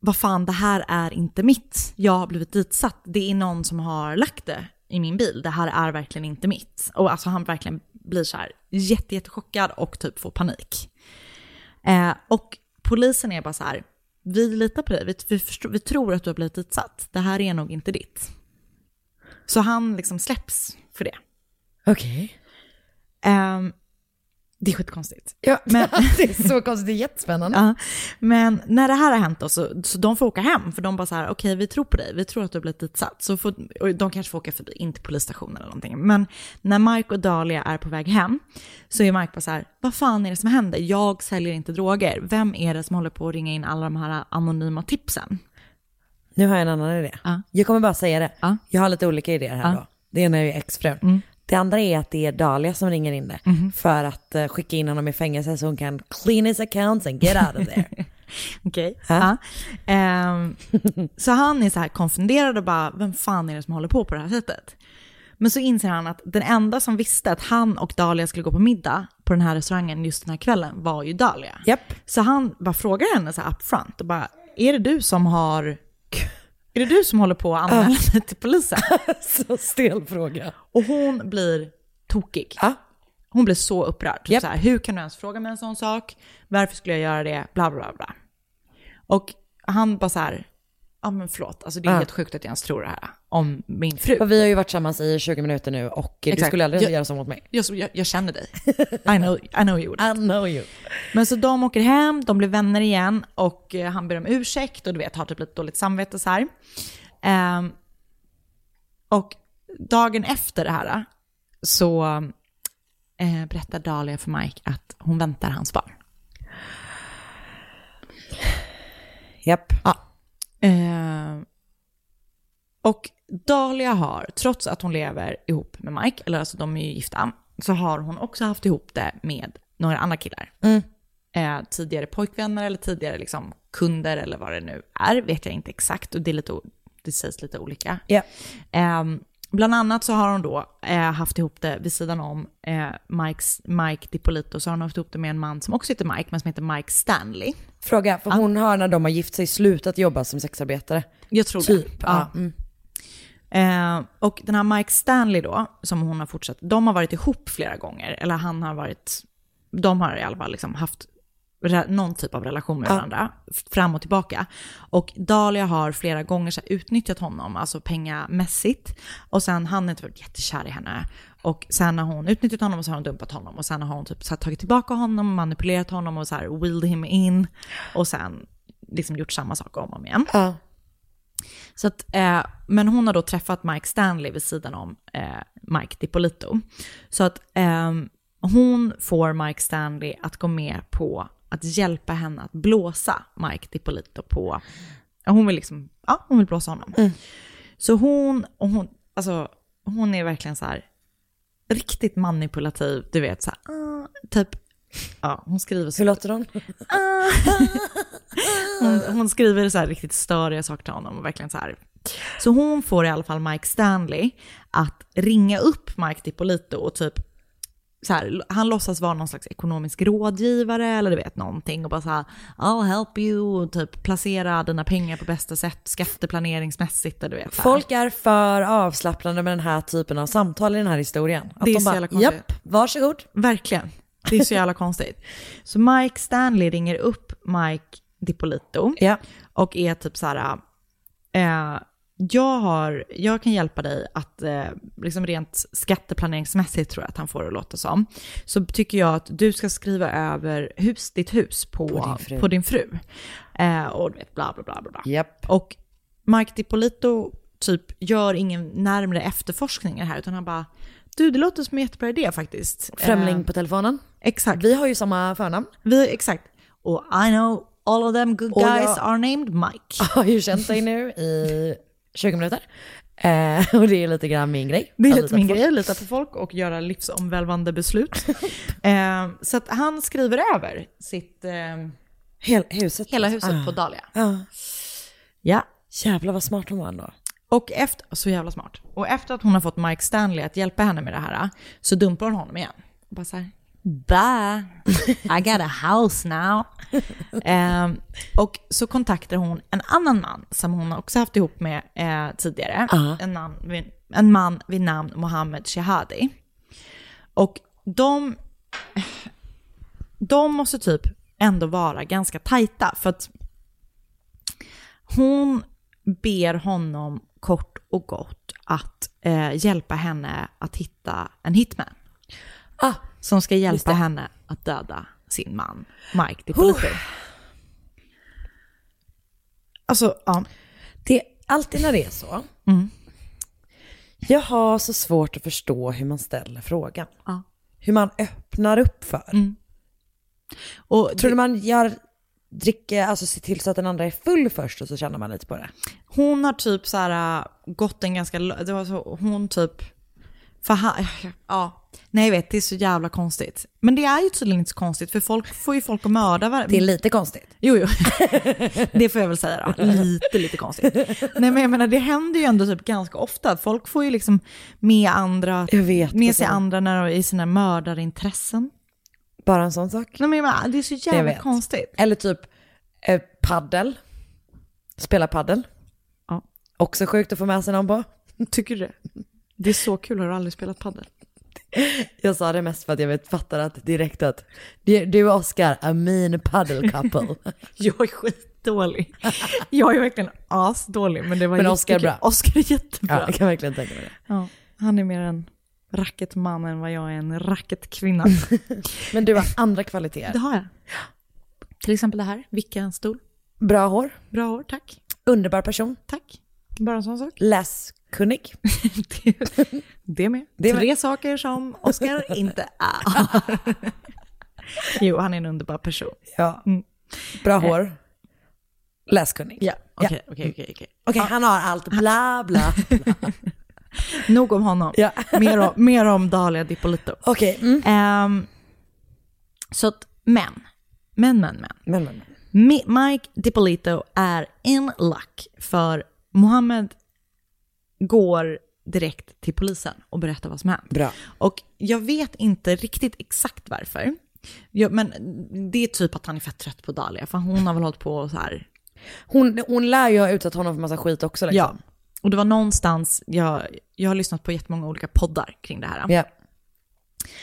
[SPEAKER 1] vad fan det här är inte mitt. Jag har blivit ditsatt. Det är någon som har lagt det i min bil. Det här är verkligen inte mitt. Och alltså han verkligen blir så här jätte, jättechockad och typ får panik. Eh, och polisen är bara så här, vi litar på dig. Vi, vi, förstår, vi tror att du har blivit ditsatt. Det här är nog inte ditt. Så han liksom släpps för det.
[SPEAKER 2] Okej.
[SPEAKER 1] Ehm, det är skitkonstigt.
[SPEAKER 2] Ja, men det är så konstigt, det är jättespännande.
[SPEAKER 1] Ja. Men när det här har hänt då, så, så de får åka hem, för de bara så här, okej vi tror på dig, vi tror att du har blivit ditsatt. Så får, och de kanske får åka förbi, inte polisstationen eller någonting. Men när Mike och Dahlia är på väg hem så är Mike bara så här, vad fan är det som händer? Jag säljer inte droger. Vem är det som håller på att ringa in alla de här anonyma tipsen?
[SPEAKER 2] Nu har jag en annan idé.
[SPEAKER 1] Ja.
[SPEAKER 2] Jag kommer bara säga det.
[SPEAKER 1] Ja. Mm.
[SPEAKER 2] Jag har lite olika idéer här då. Det ena är ju exfrun. Det andra är att det är Dahlia som ringer in det
[SPEAKER 1] Mhm.
[SPEAKER 2] för att eh, skicka in honom i fängelse så hon kan clean his accounts and get out of there.
[SPEAKER 1] Okej.
[SPEAKER 2] Ja.
[SPEAKER 1] Ja. Ehm, så han är så här konfunderad och bara, vem fan är det som håller på på det här sättet? Men så inser han att den enda som visste att han och Dahlia skulle gå på middag på den här restaurangen just den här kvällen var ju Dahlia.
[SPEAKER 2] Japp.
[SPEAKER 1] Så han bara frågar henne så här upfront och bara, är det du som har, är det du som håller på att anmäla mig till polisen?
[SPEAKER 2] så stel fråga.
[SPEAKER 1] Och hon blir tokig.
[SPEAKER 2] Ja.
[SPEAKER 1] Hon blev så upprörd. Typ
[SPEAKER 2] Japp.
[SPEAKER 1] Så här, hur kan du ens fråga mig en sån sak? Varför skulle jag göra det? Bla, bla, bla, bla. Och han bara så här, ja men förlåt, alltså det är
[SPEAKER 2] Ja.
[SPEAKER 1] helt sjukt att jag ens tror det här om min fru.
[SPEAKER 2] För vi har ju varit tillsammans i 20 minuter nu och du
[SPEAKER 1] Exakt.
[SPEAKER 2] skulle aldrig
[SPEAKER 1] Jag-
[SPEAKER 2] göra så mot mig.
[SPEAKER 1] Jag, jag, jag känner dig. I know, I know you would.
[SPEAKER 2] I know you.
[SPEAKER 1] Men så de åker hem, de blir vänner igen och eh, han ber om ursäkt och du vet har typ lite dåligt samvete så här. Ehm, och dagen efter det här så eh, berättar Dahlia för Mike att hon väntar hans barn.
[SPEAKER 2] Japp.
[SPEAKER 1] Ehm, och Dahlia har, trots att hon lever ihop med Mike, eller alltså de är ju gifta, så har hon också haft ihop det med några andra killar.
[SPEAKER 2] Mm.
[SPEAKER 1] Eh, tidigare pojkvänner eller tidigare liksom kunder eller vad det nu är, vet jag inte exakt. Och det, är lite, o- det sägs lite olika.
[SPEAKER 2] Ja.
[SPEAKER 1] Ehm, bland annat så har hon då eh, haft ihop det vid sidan om eh, Mikes, Mike DiPolito, så har hon haft ihop det med en man som också heter Mike, men som heter Mike Stanley.
[SPEAKER 2] Fråga, för hon har när de har gift sig slutat jobba som sexarbetare.
[SPEAKER 1] Jag tror
[SPEAKER 2] Typ,
[SPEAKER 1] det. Ja. Eh, och den här Mike Stanley då, som hon har fortsatt, de har varit ihop flera gånger. Eller han har varit, de har i alla fall liksom haft re- någon typ av relation med varandra, f- fram och tillbaka. Och Dahlia har flera gånger så här utnyttjat honom, alltså pengamässigt. Och sen han har inte varit jättekär i henne. Och sen har hon utnyttjat honom och så har hon dumpat honom. Och sen har hon typ så här tagit tillbaka honom, manipulerat honom och så här wheeled him in. Och sen liksom gjort samma sak om och om igen. Så att, eh, men hon har då träffat Mike Stanley vid sidan om eh, Mike DiPolito. Så att eh, hon får Mike Stanley att gå med på att hjälpa henne att blåsa Mike DiPolito på... Hon vill liksom, ja hon vill blåsa honom. Så hon, och hon, alltså hon är verkligen så här riktigt manipulativ, du vet så här, ah, typ, ja hon skriver så
[SPEAKER 2] Hur låter hon? Mm.
[SPEAKER 1] hon, Eh, hon skriver så här riktigt störiga saker till honom och verkligen så här. Så hon får i alla fall Mike Stanley att ringa upp Mike DiPolito och typ så här, han låtsas vara någon slags ekonomisk rådgivare eller du vet någonting och bara så här, I'll help you och typ placera dina pengar på bästa sätt skatteplaneringsmässigt och du vet. så här.
[SPEAKER 2] Folk är för avslappnade med den här typen av samtal i den här historien. Att
[SPEAKER 1] Det är
[SPEAKER 2] de
[SPEAKER 1] så
[SPEAKER 2] bara,
[SPEAKER 1] jävla konstigt.
[SPEAKER 2] Japp, varsågod.
[SPEAKER 1] Verkligen. Det är så jävla konstigt. Så Mike Stanley ringer upp Mike DiPolito
[SPEAKER 2] Ja.
[SPEAKER 1] och är typ så här, eh, jag, har, jag kan hjälpa dig att, eh, liksom rent skatteplaneringsmässigt tror jag att han får det att låta som, så tycker jag att du ska skriva över hus, ditt hus på, på din fru. Eh, och du vet, bla bla bla bla. bla.
[SPEAKER 2] Japp.
[SPEAKER 1] Och Mike DiPolito typ gör ingen närmre efterforskningar här, utan han bara, du det låter som en jättebra idé faktiskt.
[SPEAKER 2] Främling
[SPEAKER 1] Eh,
[SPEAKER 2] på telefonen.
[SPEAKER 1] exakt.
[SPEAKER 2] Vi har ju samma förnamn.
[SPEAKER 1] Vi, exakt. Och I know all of them good
[SPEAKER 2] Och jag-
[SPEAKER 1] guys are named Mike.
[SPEAKER 2] Har ju känt dig nu i 20 minuter. Eh, och det är lite grann min grej. Alltså,
[SPEAKER 1] Det är
[SPEAKER 2] Att
[SPEAKER 1] lite
[SPEAKER 2] lita
[SPEAKER 1] min
[SPEAKER 2] på folk.
[SPEAKER 1] grej, att lita på Alltså, folk och göra livsomvälvande beslut. eh, så att han skriver över sitt, eh,
[SPEAKER 2] Hel, huset.
[SPEAKER 1] hela huset på Dahlia.
[SPEAKER 2] Ja.
[SPEAKER 1] Ja.
[SPEAKER 2] Jävlar vad smart hon var ändå.
[SPEAKER 1] Och efter, så jävla smart. Och efter att hon har fått Mike Stanley att hjälpa henne med det här, så dumpar hon honom igen. Och bara så här, bye, I got a house now. eh, och så kontaktar hon en annan man som hon också haft ihop med eh, tidigare. En, namn, vid- en man vid namn Mohammed Shehadi. Och de, de måste typ ändå vara ganska tajta. För att hon ber honom kort och gott att eh, hjälpa henne att hitta en hitman.
[SPEAKER 2] Ah,
[SPEAKER 1] Som ska hjälpa henne att döda sin man, Mike DiPolito. Alltså, ja.
[SPEAKER 2] Det är alltid när det är så.
[SPEAKER 1] Mm.
[SPEAKER 2] Jag har så svårt att förstå hur man ställer frågan.
[SPEAKER 1] Ja. Mm.
[SPEAKER 2] Hur man öppnar upp för.
[SPEAKER 1] Och
[SPEAKER 2] Tror du man gör, dricker, alltså ser till så att den andra är full först och så känner man lite på det?
[SPEAKER 1] hon har typ så här äh, gått en ganska, lö- det var så, hon typ, för han, ja, nej jag vet, det är så jävla konstigt. Men det är ju tydligen inte så konstigt, för folk får ju folk att mörda varandra.
[SPEAKER 2] Det är lite konstigt.
[SPEAKER 1] Jo, jo. Det får jag väl säga då. Lite, lite konstigt. Nej, men jag menar, det händer ju ändå typ ganska ofta. att Folk får ju liksom med, andra,
[SPEAKER 2] Jag vet,
[SPEAKER 1] med
[SPEAKER 2] alltså.
[SPEAKER 1] sig andra när de, i sina mördarintressen.
[SPEAKER 2] Bara en sån sak.
[SPEAKER 1] Nej, men jag menar, det är så
[SPEAKER 2] Jag
[SPEAKER 1] jävla
[SPEAKER 2] vet.
[SPEAKER 1] konstigt.
[SPEAKER 2] Eller typ eh, paddel. Spela paddel.
[SPEAKER 1] Ja.
[SPEAKER 2] Också sjukt att få med sig någon på.
[SPEAKER 1] Tycker du det? Det är så kul. Har du aldrig spelat padel?
[SPEAKER 2] Jag sa det mest för att jag vet, fattar att direkt att du du och Oscar, a mean puddle couple.
[SPEAKER 1] Jag är skitdålig. Jag är verkligen asdålig, men det var
[SPEAKER 2] Men Oscar är
[SPEAKER 1] jättekul.
[SPEAKER 2] bra.
[SPEAKER 1] Oscar är jättebra.
[SPEAKER 2] Ja, jag kan verkligen tänka mig det.
[SPEAKER 1] Ja, han är mer en racketman än vad jag är en racketkvinna.
[SPEAKER 2] Men du har andra kvaliteter.
[SPEAKER 1] Det har jag. Till exempel det här, vicka en stol.
[SPEAKER 2] Bra hår,
[SPEAKER 1] Bra hår, tack.
[SPEAKER 2] underbar person,
[SPEAKER 1] Tack. Bara en sån sak.
[SPEAKER 2] läskunnig.
[SPEAKER 1] Det, det med.
[SPEAKER 2] Det med.
[SPEAKER 1] Tre saker som Oscar inte är. jo, han är en underbar person.
[SPEAKER 2] Ja. Eh.
[SPEAKER 1] Mm.
[SPEAKER 2] Bra hår, läskunnig.
[SPEAKER 1] Okej, okej, okej, okej.
[SPEAKER 2] Okej, han har allt bla bla.
[SPEAKER 1] Nog om honom.
[SPEAKER 2] Mm. Ja.
[SPEAKER 1] mer, om, mer om Dalia Dipolito.
[SPEAKER 2] Okej, mm.
[SPEAKER 1] Ehm, så att, men. Men, men, men.
[SPEAKER 2] men, men, men.
[SPEAKER 1] Mi- Mike DiPolito är in luck för Mohammed går direkt till polisen och berättar vad som hänt.
[SPEAKER 2] Bra.
[SPEAKER 1] Och jag vet inte riktigt exakt varför. Jag, men det är typ att han är fett trött på Dahlia, för hon har väl hållit på så
[SPEAKER 2] Liksom.
[SPEAKER 1] här
[SPEAKER 2] Hon, hon lär ju ha utsatt honom för massa skit också. Liksom.
[SPEAKER 1] Ja, och det var någonstans, jag, jag har lyssnat på jättemånga olika poddar kring det här.
[SPEAKER 2] Ja.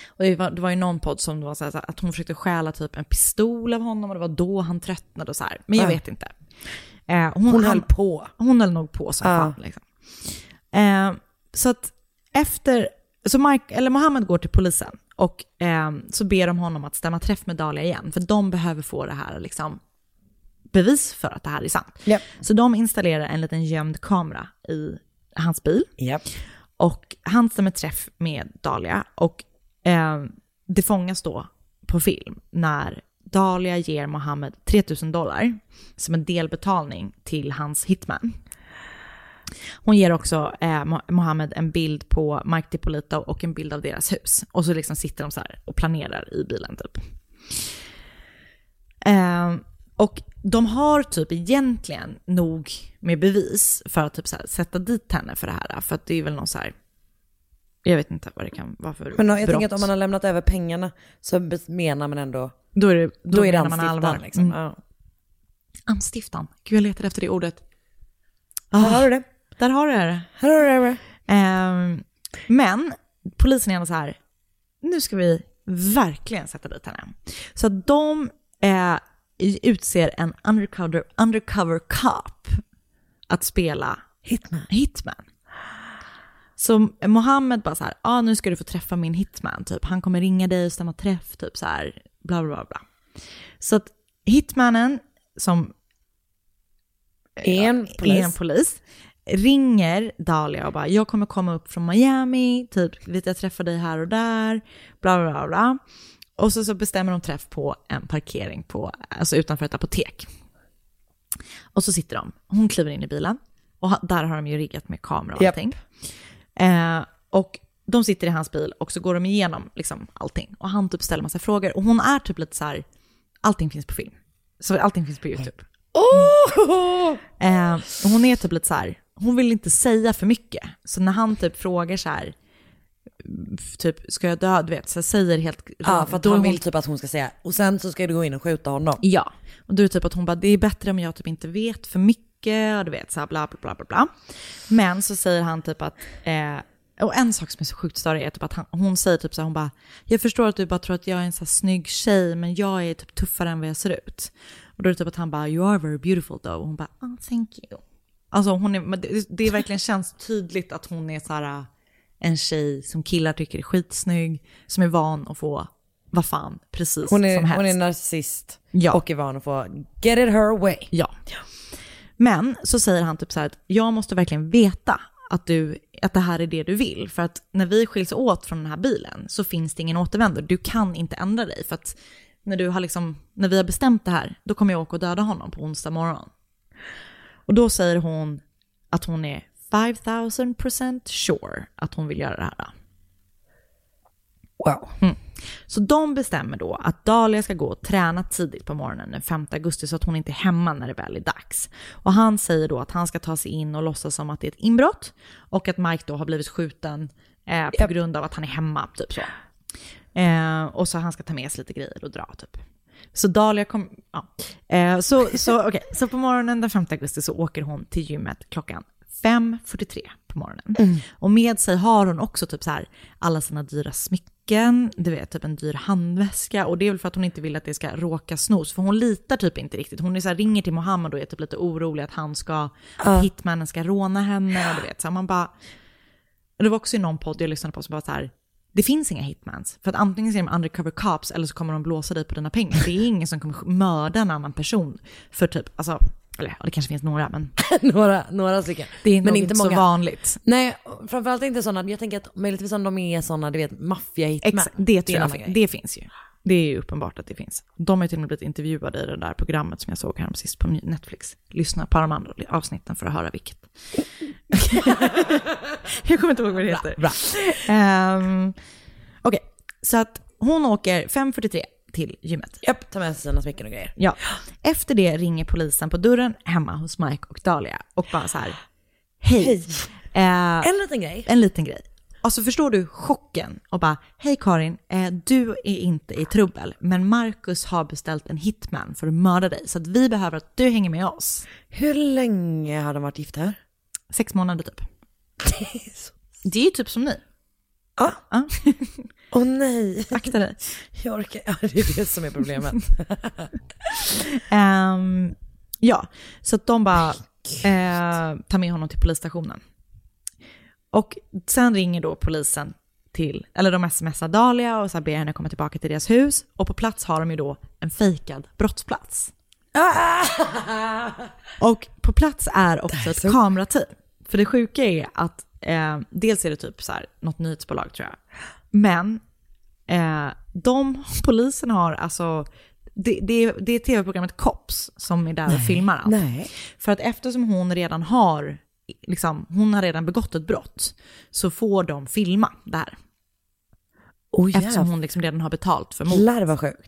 [SPEAKER 1] Och det, var, det var ju någon podd som det var så här, så här, att hon försökte stjäla typ en pistol av honom och det var då han tröttnade och så här. Men jag
[SPEAKER 2] Ja.
[SPEAKER 1] vet inte. Eh, hon,
[SPEAKER 2] Hon
[SPEAKER 1] han-
[SPEAKER 2] höll på.
[SPEAKER 1] Hon höll nog på som
[SPEAKER 2] Ja.
[SPEAKER 1] fan. Liksom. Eh, så att efter, så Mike, eller Mohammed går till polisen och eh, så ber de honom att stämma träff med Dahlia igen. För de behöver få det här liksom, bevis för att det här är sant.
[SPEAKER 2] Japp.
[SPEAKER 1] Så de installerar en liten gömd kamera i hans bil.
[SPEAKER 2] Ja.
[SPEAKER 1] Och han stämmer träff med Dahlia och eh, det fångas då på film när Dahlia ger Mohammed 3000 dollar som en delbetalning till hans hitman. Hon ger också eh, Mo- Mohammed en bild på Mike DiPolito och en bild av deras hus. Och så liksom sitter de så här och planerar i bilen typ. Eh, och de har typ egentligen nog med bevis för att typ så här, sätta dit henne för det här. För att det är väl någon så här, jag vet inte vad det kan vara för
[SPEAKER 2] Men jag
[SPEAKER 1] brott.
[SPEAKER 2] tänker att om man har lämnat över pengarna så be- menar man ändå,
[SPEAKER 1] då är det, då
[SPEAKER 2] då, är det
[SPEAKER 1] menar man allvar.
[SPEAKER 2] anstiftan. Liksom.
[SPEAKER 1] Mm.
[SPEAKER 2] Ja.
[SPEAKER 1] Anstiftan, gud jag letar efter det ordet.
[SPEAKER 2] Här har du det.
[SPEAKER 1] Ah, Där har du det.
[SPEAKER 2] Här har du det, här har du det.
[SPEAKER 1] Ehm, men polisen är ändå så här, nu ska vi verkligen sätta dit henne. Så att de eh, utser en undercover, undercover cop att spela hitman. hitman. Så Mohammed bara så här, ah, nu ska du få träffa min hitman, typ. han kommer ringa dig och stämma träff, typ så här, bla bla bla. bla. Så att hitmannen, som
[SPEAKER 2] En polis.
[SPEAKER 1] en polis, ringer Dahlia och bara “jag kommer komma upp från Miami, typ, vet jag träffar dig här och där, bla bla bla, bla”. Och så, så bestämmer de träff på en parkering på, alltså utanför ett apotek. Och så sitter de, hon kliver in i bilen och ha, där har de ju riggat med kamera och
[SPEAKER 2] Japp.
[SPEAKER 1] allting. Eh, och de sitter i hans bil och så går de igenom liksom, allting. Och han typ ställer massa frågor och hon är typ lite så här, allting finns på film. Så allting finns på YouTube. Eh, och hon är typ lite så här, hon vill inte säga för mycket. Så när han typ frågar så här, f- typ ska jag dö, du vet, så säger helt...
[SPEAKER 2] Ja, för att
[SPEAKER 1] då är
[SPEAKER 2] han
[SPEAKER 1] hon-
[SPEAKER 2] vill typ att hon ska säga, och sen så ska du gå in och skjuta honom.
[SPEAKER 1] Ja, och då är det typ att hon bara, det är bättre om jag typ inte vet för mycket, och du vet, så här bla bla bla bla bla. Men så säger han typ att, eh, och en sak som är så sjukt större är typ att han, hon säger typ så här, hon bara, jag förstår att du bara tror att jag är en så här snygg tjej, men jag är typ tuffare än vad jag ser ut. Och då är det typ att han bara, you are very beautiful though. Och hon bara, oh, thank you. Alltså hon är, men det, det verkligen känns tydligt att hon är så här eh, en tjej som killar tycker är skitsnygg, som är van att få vad fan precis
[SPEAKER 2] Hon är,
[SPEAKER 1] som helst.
[SPEAKER 2] hon är narcissist
[SPEAKER 1] Ja.
[SPEAKER 2] och är van att få get it her way.
[SPEAKER 1] Ja. Men så säger han typ så här att jag måste verkligen veta att, du, att det här är det du vill. För att när vi skiljs åt från den här bilen så finns det ingen återvändo. Du kan inte ändra dig. För att när, du har liksom, när vi har bestämt det här, då kommer jag åka och döda honom på onsdag morgon. Och då säger hon att hon är 5000% sure att hon vill göra det här.
[SPEAKER 2] Wow.
[SPEAKER 1] Så de bestämmer då att Dahlia ska gå och träna tidigt på morgonen den 5 augusti så att hon inte är hemma när det väl är dags. Och han säger då att han ska ta sig in och låtsas som att det är ett inbrott och att Mike då har blivit skjuten eh, på grund av att han är hemma, typ så. Eh, och så han ska ta med sig lite grejer och dra, typ. Så Dahlia kom, ja. eh, så, så, okej. så på morgonen den 5 augusti så åker hon till gymmet klockan 5.43 på morgonen. Och med sig har hon också typ så här alla sina dyra smycken, du vet typ en dyr handväska och det är väl för att hon inte vill att det ska råka snos för hon litar typ inte riktigt. Hon är så här, ringer till Mohammed och är typ lite orolig att han ska, att hitmannen ska råna henne och du vet så här, man bara, och det var också i någon podd jag lyssnade på som bara så här, det finns inga hitmans. För att antingen är de undercover cops eller så kommer de blåsa dig på dina pengar. Det är ingen som kommer mörda en annan person för typ, alltså, eller ja, det kanske finns några men
[SPEAKER 2] några, några stycken.
[SPEAKER 1] det är
[SPEAKER 2] men
[SPEAKER 1] nog inte
[SPEAKER 2] inte många.
[SPEAKER 1] så vanligt.
[SPEAKER 2] Nej, framförallt inte sådana. Jag tänker att möjligtvis om de är sådana, du vet, maffiahitmän.
[SPEAKER 1] Exa- det,
[SPEAKER 2] är
[SPEAKER 1] tror
[SPEAKER 2] en
[SPEAKER 1] jag,
[SPEAKER 2] annan
[SPEAKER 1] fin-
[SPEAKER 2] grej.
[SPEAKER 1] det finns ju. Det är ju uppenbart att det finns. De har ju till och med blivit intervjuade i det där programmet som jag såg här sist på Netflix. Lyssna på de andra avsnitten för att höra vilket. jag kommer inte ihåg vad det heter. Bra. Ehm, Okej, så att hon åker 5.43 till gymmet.
[SPEAKER 2] Japp, ta med sig sina smycken och grejer.
[SPEAKER 1] Ja. Efter det ringer polisen på dörren hemma hos Mike och Dahlia och bara så här, hej. Eh,
[SPEAKER 2] En liten grej.
[SPEAKER 1] en liten grej. Alltså förstår du chocken och bara, hej Karin, eh, du är inte i trubbel, men Marcus har beställt en hitman för att mörda dig, så att vi behöver att du hänger med oss.
[SPEAKER 2] Hur länge har de varit gifta här?
[SPEAKER 1] Sex månader typ. Det är ju typ som ni.
[SPEAKER 2] Ja.
[SPEAKER 1] Ja.
[SPEAKER 2] Åh nej,
[SPEAKER 1] Akta dig.
[SPEAKER 2] jag orkar. Ja, det är det som är problemet.
[SPEAKER 1] Ehm, ja, så att de bara eh, tar med honom till polisstationen. Och sen ringer då polisen till, eller de smsar Dahlia och så här ber henne komma tillbaka till deras hus. Och på plats har de ju då en fejkad brottsplats.
[SPEAKER 2] Ah!
[SPEAKER 1] och på plats är också ett kamerateam. För det sjuka är att eh, dels är det typ så här, något nyhetsbolag tror jag. Men Eh, de polisen har alltså, det, det, är- det är tv-programmet Cops som är där och filmar allt.
[SPEAKER 2] nej.
[SPEAKER 1] För att eftersom hon redan har, liksom, hon har redan begått ett brott, så får de filma det här.
[SPEAKER 2] Oh,
[SPEAKER 1] Eftersom
[SPEAKER 2] jävlar
[SPEAKER 1] hon Mm. liksom redan har betalt för mordet.
[SPEAKER 2] Larva sjukt.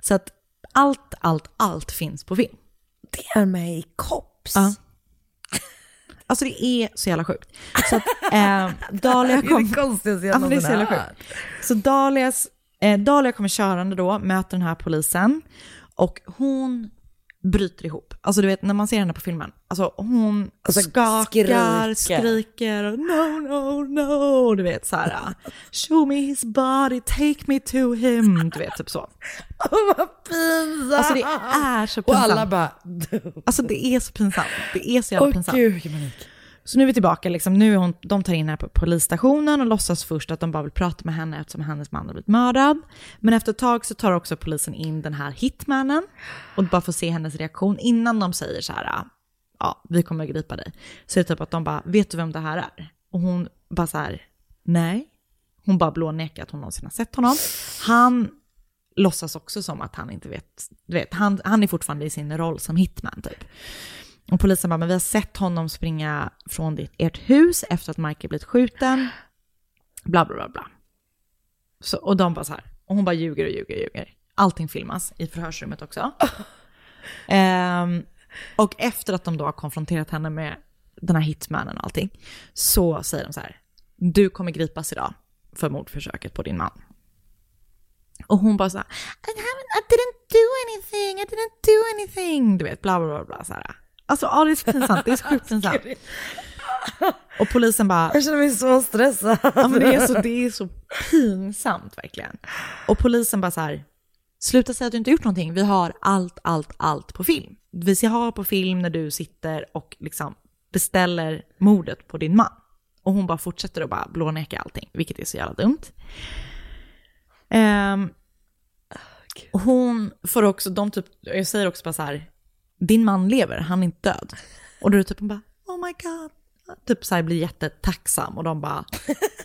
[SPEAKER 1] Så att allt, allt, allt finns på film.
[SPEAKER 2] Det är mig i kops.
[SPEAKER 1] Ja. Alltså det är så jävla sjukt. Så att eh, Dahlia kom...
[SPEAKER 2] konstigaste
[SPEAKER 1] Ja, men det är så jävla sjukt. Så Dahlias, eh, Dahlia kommer körande då, möter den här polisen och hon bryter ihop. Alltså du vet när man ser henne på filmen, alltså hon
[SPEAKER 2] Alltså,
[SPEAKER 1] skakar, skriker,
[SPEAKER 2] skriker.
[SPEAKER 1] och no, no, no, du vet så här. ah, Show me his body, take me to him, du vet typ så.
[SPEAKER 2] Vad pinsamt.
[SPEAKER 1] Alltså det är så
[SPEAKER 2] och
[SPEAKER 1] pinsamt.
[SPEAKER 2] alla bara...
[SPEAKER 1] Alltså det är så pinsamt. Det är så jävla
[SPEAKER 2] Åh
[SPEAKER 1] pinsamt.
[SPEAKER 2] gud vilken panik.
[SPEAKER 1] Så nu är vi tillbaka, liksom, nu är hon, de tar in henne på polisstationen och låtsas först att de bara vill prata med henne eftersom hennes man har blivit mördad. Men efter ett tag så tar också polisen in den här hitmannen och bara får se hennes reaktion innan de säger så här, ja vi kommer att gripa dig. Så är det typ att de bara, vet du vem det här är? Och hon bara så här, nej. Hon bara blånekar att hon någonsin har sett honom. Han låtsas också som att han inte vet, du vet, han, han är fortfarande i sin roll som hitman typ. Och polisen bara, men vi har sett honom springa från ditt, ert hus efter att Mike blivit skjuten. Bla, bla, bla, bla. Så, och de bara så här, och hon bara ljuger och ljuger och ljuger. Allting filmas i förhörsrummet också. Ehm, och efter att de då har konfronterat henne med den här hitmannen och allting, så säger de så här, du kommer gripas idag för mordförsöket på din man. Och hon bara så här, I, haven't, I didn't do anything, I didn't do anything. Du vet, bla bla bla. bla så här. Alltså ja, det är så pinsamt, det är så sjukt pinsamt. Och polisen bara,
[SPEAKER 2] Jag känner mig så stressad.
[SPEAKER 1] ja, men det, är så, det är så pinsamt verkligen. Och polisen bara så här, sluta säga att du inte gjort någonting, vi har allt, allt, allt på film. Vi ser ha på film när du sitter och liksom beställer mordet på din man. Och hon bara fortsätter att bara blåneka allting, vilket är så jävla dumt. Ehm, hon får också, de typ, jag säger också bara så här, din man lever, han är inte död. Och då är det typ hon bara, oh my god. Typ så här blir jättetacksam och de bara,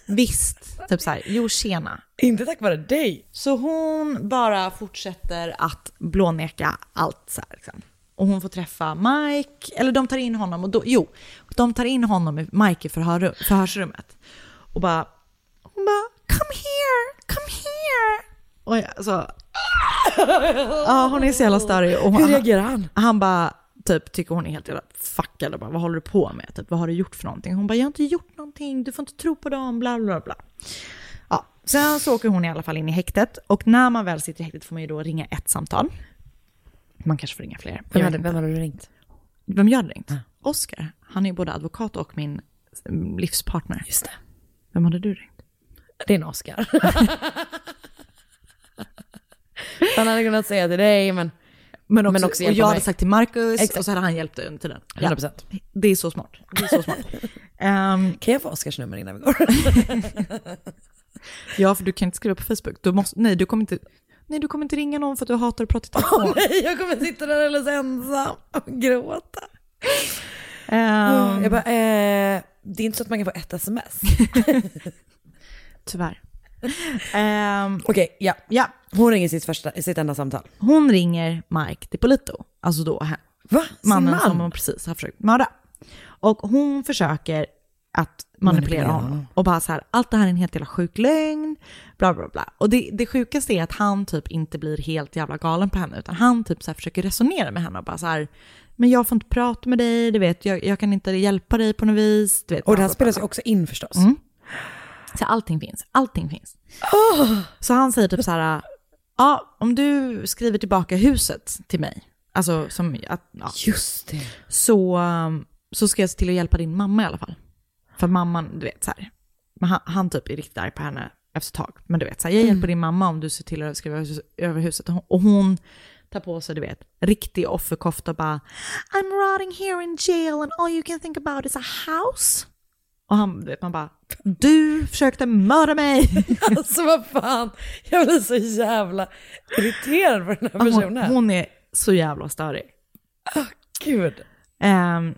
[SPEAKER 1] visst. Typ så här, jo tjena.
[SPEAKER 2] Inte tack vare dig.
[SPEAKER 1] Så hon bara fortsätter att blåneka allt så här, liksom. Och hon får träffa Mike, eller de tar in honom och då, jo, de tar in honom i Mike i förhör, förhörsrummet. Och bara, hon bara, come here, come here. Och jag, så, ja hon är så jävla störig. Och hon,
[SPEAKER 2] Hur reagerar han?
[SPEAKER 1] han bara typ tycker hon är helt jävla fuckad och bara vad håller du på med? Typ, vad har du gjort för någonting? Hon bara jag har inte gjort någonting, du får inte tro på dem, bla bla bla. Ja, sen så åker hon i alla fall in i häktet och när man väl sitter i häktet får man ju då ringa ett samtal. Man kanske får ringa fler. Jag vet inte.
[SPEAKER 2] du ringt?
[SPEAKER 1] Vem gör det inte? Oscar, han är ju både advokat och min mm, livspartner.
[SPEAKER 2] Just det.
[SPEAKER 1] Vem hade du ringt?
[SPEAKER 2] Det är en Oscar. Han hade kunnat säga till dig men...
[SPEAKER 1] Men också,
[SPEAKER 2] Men också
[SPEAKER 1] och
[SPEAKER 2] hjälpa
[SPEAKER 1] jag hade
[SPEAKER 2] mig.
[SPEAKER 1] sagt till Marcus
[SPEAKER 2] Exakt.
[SPEAKER 1] och så hade han hjälpt dig under tiden.
[SPEAKER 2] 100%.
[SPEAKER 1] Det är så smart. Det är så smart. Ehm,
[SPEAKER 2] Kan jag få Oscars nummer innan vi går?
[SPEAKER 1] ja, för du kan inte skriva på Facebook. Du måste, nej, du kommer inte, nej, du kommer inte ringa någon för att du hatar att prata i telefon.
[SPEAKER 2] Nej, jag kommer sitta där alldeles ensam och gråta.
[SPEAKER 1] Ehm,
[SPEAKER 2] Jag bara, eh, det är inte så att man kan få ett sms.
[SPEAKER 1] Tyvärr. Ehm,
[SPEAKER 2] Okej, ja.
[SPEAKER 1] ja,
[SPEAKER 2] Hon ringer sitt, första, sitt enda samtal.
[SPEAKER 1] hon ringer Mike DiPolito, alltså då hen-
[SPEAKER 2] Va? Sin
[SPEAKER 1] mannen
[SPEAKER 2] man?
[SPEAKER 1] som hon precis har försökt mörda. Och hon försöker att manipulera
[SPEAKER 2] Manipulera
[SPEAKER 1] honom
[SPEAKER 2] honom.
[SPEAKER 1] och bara så här, allt det här är en helt jävla sjuk lögn, bla bla bla. Och det, det sjukaste är att han typ inte blir helt jävla galen på henne, utan han typ så här försöker resonera med henne och bara så här, men jag får inte prata med dig, du vet, jag, jag kan inte hjälpa dig på något vis. Du vet,
[SPEAKER 2] Och det här
[SPEAKER 1] bla, bla, bla.
[SPEAKER 2] spelas ju också in förstås.
[SPEAKER 1] Så allting finns, allting finns. Så han säger typ så här, ja, om du skriver tillbaka huset till mig, alltså som, att, ja,
[SPEAKER 2] Just det.
[SPEAKER 1] så, um, så ska jag se till att hjälpa din mamma i alla fall. För mamman, du vet så här, men han, han typ är riktigt arg på henne efter ett tag. Men du vet så här, jag hjälper din mamma om du ser till att skriva hus- över huset. Och hon- Och hon tar på sig, du vet, riktig offerkofta och bara I'm rotting here in jail and all you can think about is a house. Och han, du vet, man bara, du försökte mörda mig.
[SPEAKER 2] Alltså vad fan, jag blir så jävla irriterad på den här
[SPEAKER 1] Hon,
[SPEAKER 2] personen.
[SPEAKER 1] hon är så jävla störig.
[SPEAKER 2] Gud.
[SPEAKER 1] Ehm,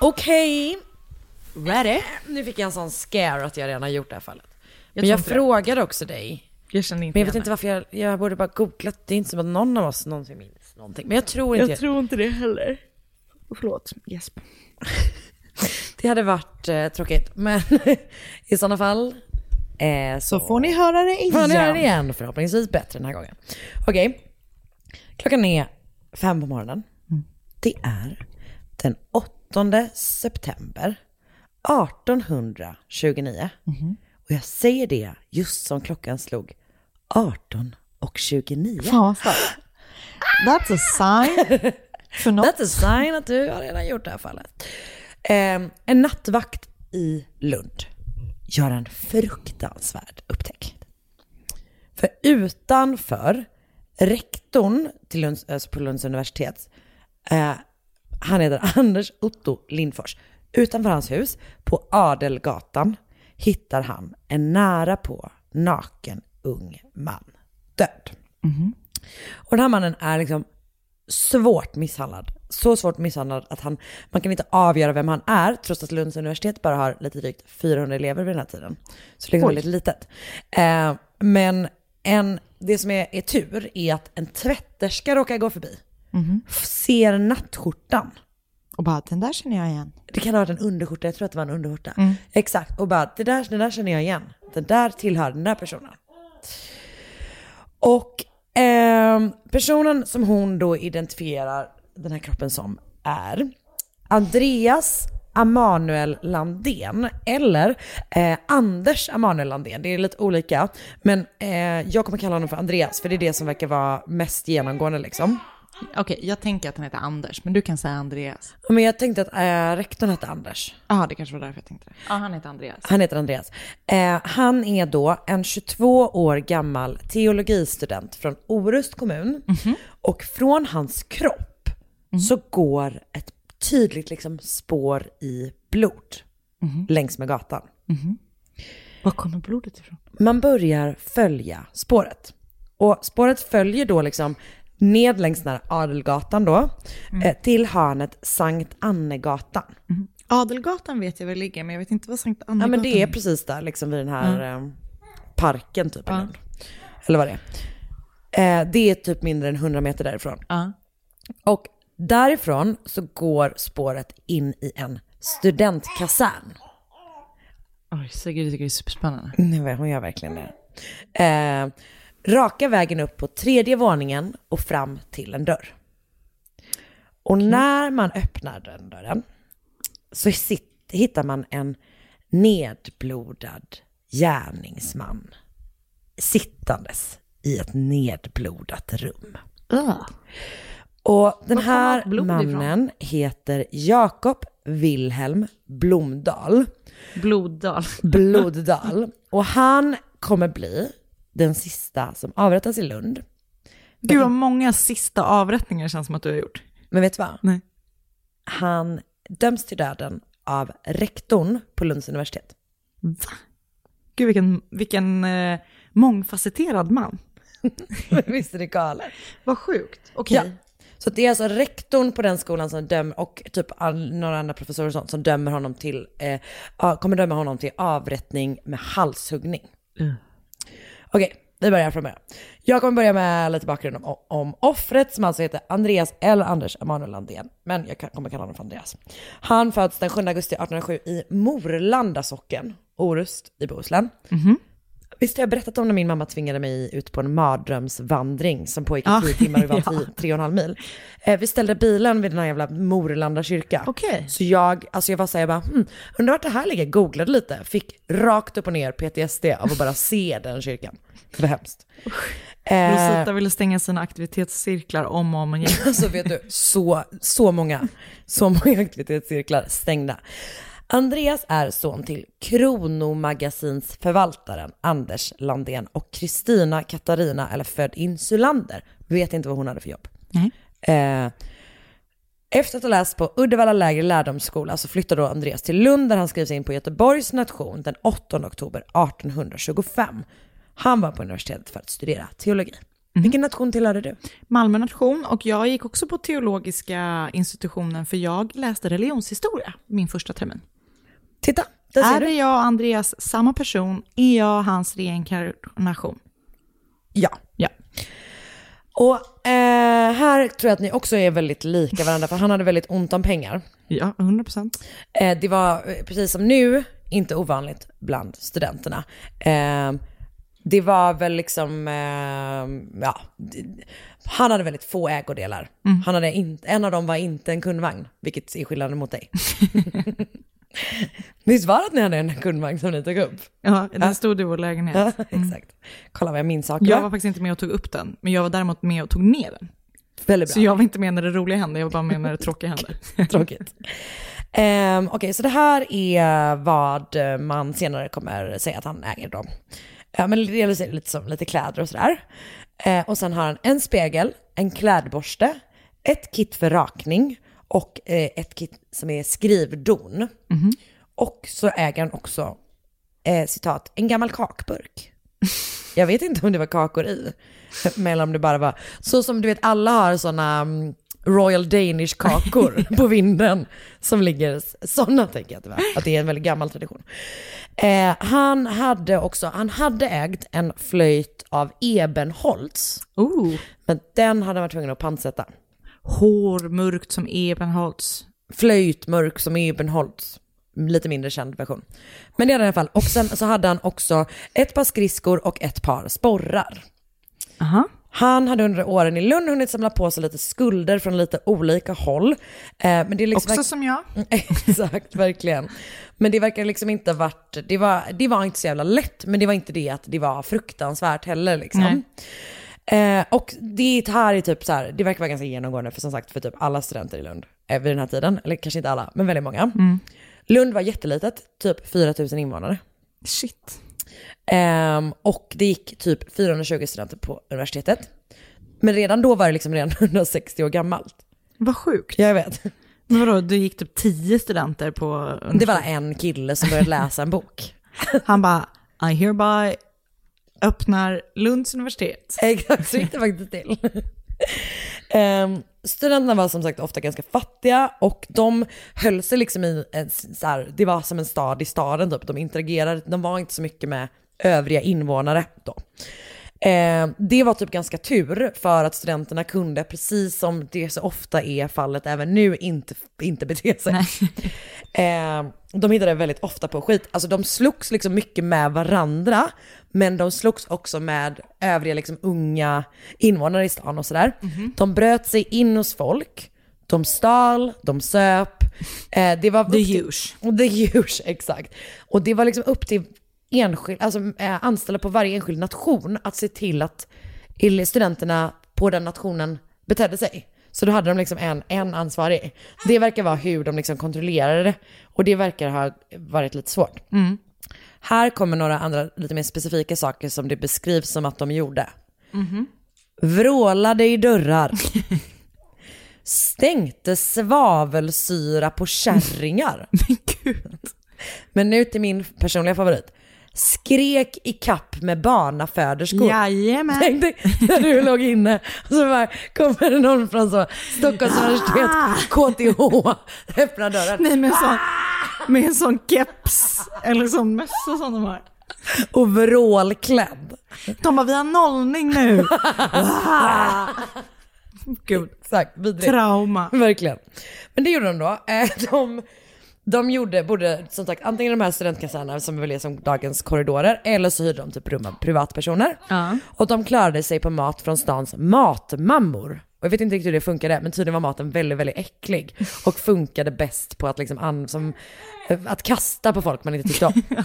[SPEAKER 2] Okej,
[SPEAKER 1] Ready?
[SPEAKER 2] nu fick jag en sån scare att jag redan har gjort det här fallet. Men
[SPEAKER 1] tror
[SPEAKER 2] jag
[SPEAKER 1] inte det.
[SPEAKER 2] frågade också dig
[SPEAKER 1] Jag känner inte
[SPEAKER 2] Men jag vet
[SPEAKER 1] igen
[SPEAKER 2] inte varför jag, jag borde bara googlat. Det är inte som att någon av oss någonsin minns någonting. Men jag tror inte jag
[SPEAKER 1] tror inte det heller. Förlåt, Jesper.
[SPEAKER 2] Det hade varit eh, tråkigt. Men i sådana fall eh, så,
[SPEAKER 1] Så får ni höra det igen.
[SPEAKER 2] får ni göra det igen. Förhoppningsvis bättre den här gången. Okej. Klockan är fem på morgonen. Det är den 8 september 1829. Och jag säger det just som klockan slog 18 och 29.
[SPEAKER 1] Fan vad starkt. That's a sign för något.
[SPEAKER 2] That's a sign att du har redan gjort det här fallet. Ehm, en nattvakt i Lund gör en fruktansvärd upptäckt. För utanför rektorn till Lunds, alltså på Lunds universitet, eh, han heter Anders Otto Lindfors. Utanför hans hus på Adelgatan hittar han en nära på naken ung man död. Och den här mannen är liksom svårt misshandlad. Så svårt misshandlad att han, man kan inte avgöra vem han är trots att Lunds universitet bara har lite drygt 400 elever vid den här tiden. Så det är liksom
[SPEAKER 4] Oj.
[SPEAKER 2] väldigt litet. Eh, men en, det som är, är tur är att en tvätterska råkar gå förbi, ser nattskjortan.
[SPEAKER 1] Och bara, den där känner jag igen.
[SPEAKER 2] Det kan ha varit en underskjorta, jag tror att det var en underskjorta. Exakt, och bara det där, den där känner jag igen. Den där tillhör den där personen. Och ehm, personen som hon då identifierar den här kroppen som är Andreas Emanuel Landén eller eh, Anders Emanuel Landén. Det är lite olika. Men eh, jag kommer kalla honom för Andreas för det är det som verkar vara mest genomgående liksom.
[SPEAKER 1] Okej, jag tänker att han heter Anders, men du kan säga Andreas.
[SPEAKER 2] Ja, Men jag tänkte att eh, rektorn hette Anders.
[SPEAKER 1] Ja, det kanske var därför jag tänkte det. Ja, han heter Andreas.
[SPEAKER 2] Han heter Andreas. Eh, han är då en 22 år gammal teologistudent från Orust kommun. Och från hans kropp så går ett tydligt liksom spår i blod längs med gatan.
[SPEAKER 1] Var kommer blodet ifrån?
[SPEAKER 2] Man börjar följa spåret. Och spåret följer då liksom ned längs den här Adelgatan då, eh, till hörnet Sankt Annegatan.
[SPEAKER 1] Adelgatan vet jag var det ligger, men jag vet inte vad Sankt Annegatan
[SPEAKER 2] Ja men det är precis där, liksom vid den här eh, parken typ. i Lund. Eller vad det är. Eh, det är typ mindre än 100 meter därifrån. Och därifrån så går spåret in i en studentkasern.
[SPEAKER 5] Oj, Sigrid tycker det är superspännande.
[SPEAKER 2] Nej, men hon gör verkligen det. Eh, raka vägen upp på tredje våningen och fram till en dörr. Och när man öppnar den dörren så sit- hittar man en nedblodad gärningsman sittandes i ett nedblodat rum. Och den
[SPEAKER 4] Var kommer
[SPEAKER 2] här
[SPEAKER 4] allt blod ifrån?
[SPEAKER 2] mannen heter Jakob Wilhelm Blomdahl.
[SPEAKER 5] Bloddal.
[SPEAKER 2] Bloddal. Och han kommer bli den sista som avrättas i Lund.
[SPEAKER 1] Gud vad många sista avrättningar känns som att du har gjort.
[SPEAKER 2] Men vet du vad? Nej. Han döms till döden av rektorn på Lunds universitet.
[SPEAKER 1] Va? Gud vilken, vilken eh, mångfacetterad man.
[SPEAKER 2] Visst är det galet?
[SPEAKER 1] Vad sjukt. Okej.
[SPEAKER 2] Så att det är alltså rektorn på den skolan som dömer, och typ all, några andra professorer och sånt, som dömer honom till, eh, ja, kommer döma honom till avrättning med halshuggning. Okej, vi börjar från början. Jag kommer börja med lite bakgrund om, om offret som alltså heter Andreas eller Anders Emanuel Landén. Men jag kan- kommer kalla honom för Andreas. Han föds den 7 augusti 1807 i Morlanda socken, Orust i Bohuslän. Visst har jag berättat om när min mamma tvingade mig ut på en mardrömsvandring som pågick i
[SPEAKER 4] Ja.
[SPEAKER 2] tio timmar och vi var
[SPEAKER 4] Ja.
[SPEAKER 2] tio, tre och en halv mil. Eh, vi ställde bilen vid den här jävla Morlanda kyrka. Så jag, alltså jag var såhär, jag bara, hmm, undrar vart det här ligger? Googlade lite, fick rakt upp och ner PTSD av att bara se den kyrkan. Det var hemskt. Eh,
[SPEAKER 1] Rosita ville stänga sina aktivitetscirklar om och om igen.
[SPEAKER 2] Alltså vet du, så, så många, så många aktivitetscirklar stängda. Andreas är son till Kronomagasinsförvaltaren Anders Landén och Kristina Katarina, eller född Insulander, vet inte vad hon hade för jobb. Eh, efter att ha läst på Uddevalla lägre lärdomsskola så flyttar då Andreas till Lund där han skrivs in på Göteborgs nation den 8 oktober 1825. Han var på universitetet för att studera teologi. Vilken nation tillhörde du?
[SPEAKER 1] Malmö nation och jag gick också på teologiska institutionen för jag läste religionshistoria min första termin.
[SPEAKER 2] Titta,
[SPEAKER 4] där ser
[SPEAKER 1] Är
[SPEAKER 4] du.
[SPEAKER 1] det jag och Andreas samma person? Är jag hans reinkarnation?
[SPEAKER 2] Ja.
[SPEAKER 1] ja.
[SPEAKER 2] Och eh, här tror jag att ni också är väldigt lika varandra, för han hade väldigt ont om pengar.
[SPEAKER 1] Ja, 100 procent.
[SPEAKER 2] Eh, det var, eh, precis som nu, inte ovanligt bland studenterna. Eh, det var väl liksom, eh, ja, d- han hade väldigt få ägodelar.
[SPEAKER 4] Mm.
[SPEAKER 2] Han hade in, en av dem var inte en kundvagn, vilket är skillnaden mot dig. Visst var det att ni hade en kundvagn som ni tog upp?
[SPEAKER 1] Ja, den stod i vår lägenhet.
[SPEAKER 2] Ja, exakt. Kolla vad jag minns saker.
[SPEAKER 1] Jag
[SPEAKER 2] va?
[SPEAKER 1] var faktiskt inte med och tog upp den, men jag var däremot med och tog ner den.
[SPEAKER 2] Väldigt bra.
[SPEAKER 1] Så jag var inte med när det roliga hände, jag var bara med när det tråkiga hände.
[SPEAKER 2] Tråkigt. Ehm, Okej, så det här är vad eh, man senare kommer säga att han äger dem. Ja, men det gäller sig lite som lite kläder och sådär. Eh, och sen har han en spegel, en klädborste, ett kit för rakning och eh, ett kit som är skrivdon. Och så äger han också, eh, citat, en gammal kakburk Jag vet inte om det var kakor i. Eller om det bara var, så som du vet alla har sådana mm, Royal Danish kakor på vinden som ligger, sådana tänker jag att det var. Att det är en väldigt gammal tradition. Eh, han hade också, han hade ägt en flöjt av ebenholts.
[SPEAKER 1] Oh.
[SPEAKER 2] Men den hade han varit tvungen att pantsätta.
[SPEAKER 1] Hår mörkt som ebenholts.
[SPEAKER 2] Flöjt mörk som ebenholts. Lite mindre känd version. Men det hade han i alla fall. Och sen så hade han också ett par skridskor och ett par sporrar. Han hade under åren i Lund hunnit samla på sig lite skulder från lite olika håll. Eh, men det är liksom
[SPEAKER 1] Också som jag.
[SPEAKER 2] Exakt, verkligen. Men det verkar liksom inte ha varit, det var, det var inte så jävla lätt, men det var inte det att det var fruktansvärt heller liksom. Eh, och det här är typ så här, det verkar vara ganska genomgående för som sagt för typ alla studenter i Lund eh, vid den här tiden, eller kanske inte alla, men väldigt många. Lund var jättelitet, typ 4000 invånare.
[SPEAKER 1] Shit.
[SPEAKER 2] Ehm, och det gick typ 420 studenter på universitetet. Men redan då var det liksom redan 160 år gammalt.
[SPEAKER 1] Vad sjukt.
[SPEAKER 2] Jag vet.
[SPEAKER 1] Men vadå, det gick typ tio studenter på
[SPEAKER 2] Det var en kille som började läsa en bok.
[SPEAKER 1] Han bara, I hereby öppnar Lunds universitet.
[SPEAKER 2] Exakt, så gick det faktiskt till. Ehm, studenterna var som sagt ofta ganska fattiga och de höll sig liksom i, en, s- så här, det var som en stad i staden typ. De interagerade, de var inte så mycket med övriga invånare då. Ehm, det var typ ganska tur för att studenterna kunde, precis som det så ofta är fallet även nu, inte, inte bete sig. Eh, de hittade väldigt ofta på skit. Alltså de slogs liksom mycket med varandra, men de slogs också med övriga liksom unga invånare i stan och sådär.
[SPEAKER 4] Mhm.
[SPEAKER 2] De bröt sig in hos folk, de stal, de söp. Eh, det var upp till- The use, exakt. Och det var liksom upp till enskild, alltså, eh, anställda på varje enskild nation att se till att ele- studenterna på den nationen betedde sig. Så då hade de liksom en, en ansvarig. Det verkar vara hur de liksom kontrollerade det. Och det verkar ha varit lite svårt.
[SPEAKER 1] Mm.
[SPEAKER 2] Här kommer några andra lite mer specifika saker som det beskrivs som att de gjorde.
[SPEAKER 1] Mhm.
[SPEAKER 2] Vrålade i dörrar. Stänkte svavelsyra på kärringar. Men Men nu till min personliga favorit. Skrek i kapp med barnaföderskor.
[SPEAKER 1] Jajamän.
[SPEAKER 2] Tänk dig när du låg inne och så bara kommer det någon från så Stockholms universitet, KTH, öppnar dörren.
[SPEAKER 1] Ah. Nej, men så, med en sån keps eller sån mössa som de har.
[SPEAKER 2] Och vrålklädd.
[SPEAKER 1] De bara, vi har nollning nu.
[SPEAKER 2] Gud. Exakt, vidrigt.
[SPEAKER 1] Trauma.
[SPEAKER 2] Verkligen. Men det gjorde de då. Eh, De, de gjorde, borde som sagt, antingen de här studentkasernerna som väl är som dagens korridorer, eller så hyrde de typ rum av privatpersoner. Och de klarade sig på mat från stans matmammor. Och jag vet inte riktigt hur det funkade, men tydligen var maten väldigt, väldigt äcklig. Och funkade bäst på att liksom, an, som, att kasta på folk man inte tyckte om.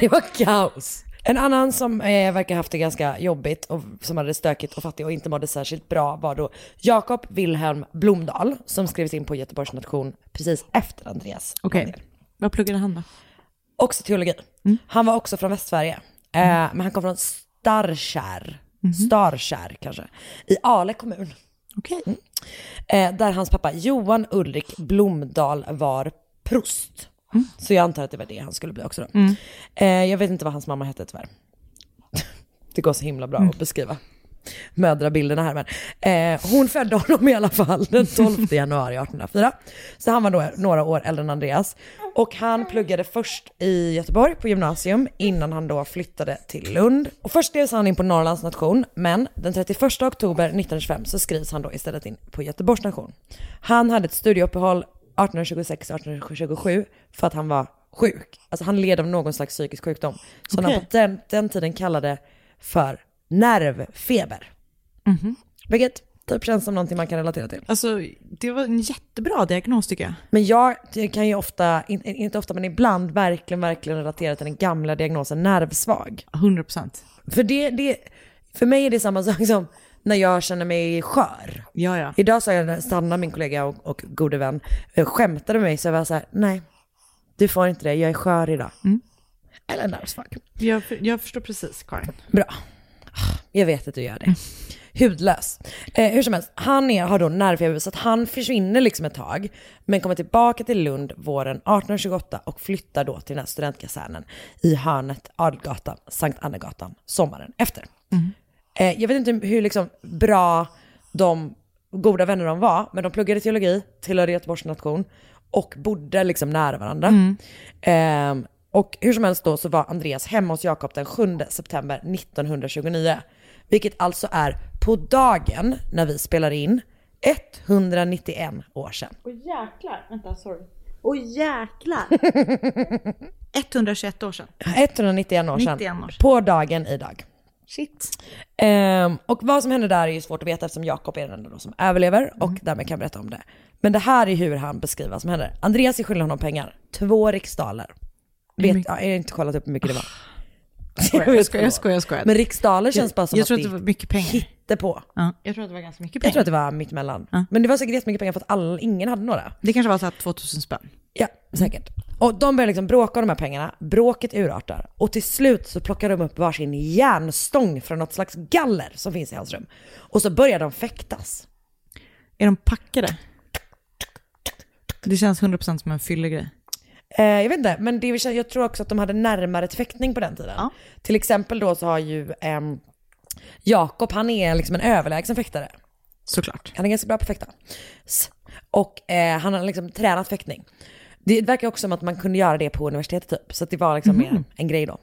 [SPEAKER 2] Det var kaos. En annan som eh, verkar haft det ganska jobbigt och som hade det stökigt och fattig och inte mådde särskilt bra var då Jakob Wilhelm Blomdahl som skrevs in på Göteborgs nation precis efter Andreas.
[SPEAKER 1] Okej. Vad pluggade han då?
[SPEAKER 2] Också teologi.
[SPEAKER 1] Mm.
[SPEAKER 2] Han var också från Västsverige. Eh, Men han kom från Starkär.
[SPEAKER 1] Mhm.
[SPEAKER 2] Starkär kanske. I Ale kommun.
[SPEAKER 1] Okej.
[SPEAKER 2] Eh, där hans pappa Johan Ulrik Blomdahl var prost. Så jag antar att det var det han skulle bli också då.
[SPEAKER 1] Mm.
[SPEAKER 2] Eh, jag vet inte vad hans mamma hette tyvärr. Det går så himla bra
[SPEAKER 1] Mm.
[SPEAKER 2] att beskriva mödrabilderna här. Men, eh, hon födde honom i alla fall den 12 januari 1804. Så han var då några år äldre än Andreas. Och han pluggade först i Göteborg på gymnasium innan han då flyttade till Lund. Och först skrevs han in på Norrlands nation, men den 31 oktober 1925 så skrivs han då istället in på Göteborgs nation. Han hade ett studieuppehåll 1826-1827 för att han var sjuk. Alltså han led av någon slags psykisk sjukdom. Som han
[SPEAKER 1] Okej.
[SPEAKER 2] på den, den tiden kallade för nervfeber. Vilket typ känns som någonting man kan relatera till.
[SPEAKER 1] Alltså, det var en jättebra diagnos tycker jag.
[SPEAKER 2] Men jag kan ju ofta, in, in- inte ofta men ibland, verkligen, verkligen relatera till den gamla diagnosen nervsvag.
[SPEAKER 1] 100%.
[SPEAKER 2] För, det, det, för mig är det samma sak som när jag känner mig skör.
[SPEAKER 1] Ja, ja.
[SPEAKER 2] Idag sa jag, när Sanna, min kollega och, och gode vän, eh, skämtade med mig så jag var så här, nej, du får inte det, jag är skör idag. Eller nervsvag.
[SPEAKER 1] Jag, jag förstår precis Karin.
[SPEAKER 2] Bra. Jag Ah, vet att du gör det. hudlös. Eh, hur som helst, han är, har då nervfeber så att han försvinner liksom ett tag. Men kommer tillbaka till Lund våren 1828 och flyttar då till den här studentkasernen i hörnet Adelgatan, Sankt Annagatan, sommaren efter. Eh, jag vet inte hur liksom, bra de goda vänner de var, men de pluggade teologi, tillhörde Göteborgs nation och bodde liksom nära varandra.
[SPEAKER 4] Mm.
[SPEAKER 2] Ehm, och hur som helst då så var Andreas hemma hos Jakob den 7 september 1929. Vilket alltså är på dagen när vi spelar in 191 år sedan.
[SPEAKER 1] Åh jäklar, vänta sorry. Åh jäklar! 121 år sedan.
[SPEAKER 2] 191 år sedan.
[SPEAKER 1] 91 år sedan.
[SPEAKER 2] På dagen idag.
[SPEAKER 1] Shit.
[SPEAKER 2] Ehm, och vad som hände där är ju svårt att veta eftersom Jakob är den enda då som överlever och
[SPEAKER 5] Mm.
[SPEAKER 2] därmed kan berätta om det. Men det här är hur han beskriver vad som händer. Andreas är skyldig honom pengar. Två riksdaler. Vet, ja, jag har inte kollat upp hur mycket det var.
[SPEAKER 5] Skojar,
[SPEAKER 2] vet
[SPEAKER 5] Ah, jag skojar,
[SPEAKER 2] inte.
[SPEAKER 5] jag skojar, jag skojar.
[SPEAKER 2] Men riksdaler känns
[SPEAKER 5] Jag-
[SPEAKER 2] bara som
[SPEAKER 5] jag
[SPEAKER 2] att
[SPEAKER 5] tror att det var mycket pengar.
[SPEAKER 2] hittepå.
[SPEAKER 1] Jag tror att det var ganska mycket
[SPEAKER 2] Jag tror
[SPEAKER 1] pengar.
[SPEAKER 2] att det var mitt mellan. Men det var säkert jättemycket pengar för att all, ingen hade några.
[SPEAKER 1] Det kanske var så här 2000 spänn.
[SPEAKER 2] Ja, säkert. Och de börjar liksom bråka om de här pengarna. Bråket urartar. Och till slut så plockar de upp varsin järnstång från något slags galler som finns i hans rum. Och så börjar de fäktas.
[SPEAKER 1] Är de packade? Det känns 100% som en fyllegrej.
[SPEAKER 2] Eh, jag vet inte, men det, jag tror också att de hade närmare till fäktning på den tiden. Till exempel då så har ju ehm, Jakob, han är liksom en överlägsen fäktare.
[SPEAKER 1] Såklart.
[SPEAKER 2] Han är ganska bra på att fäkta. S- Och eh, han har liksom tränat fäktning. Det verkar också som att man kunde göra det på universitetet typ. Så att det var liksom
[SPEAKER 1] Mhm.
[SPEAKER 2] mer en grej då.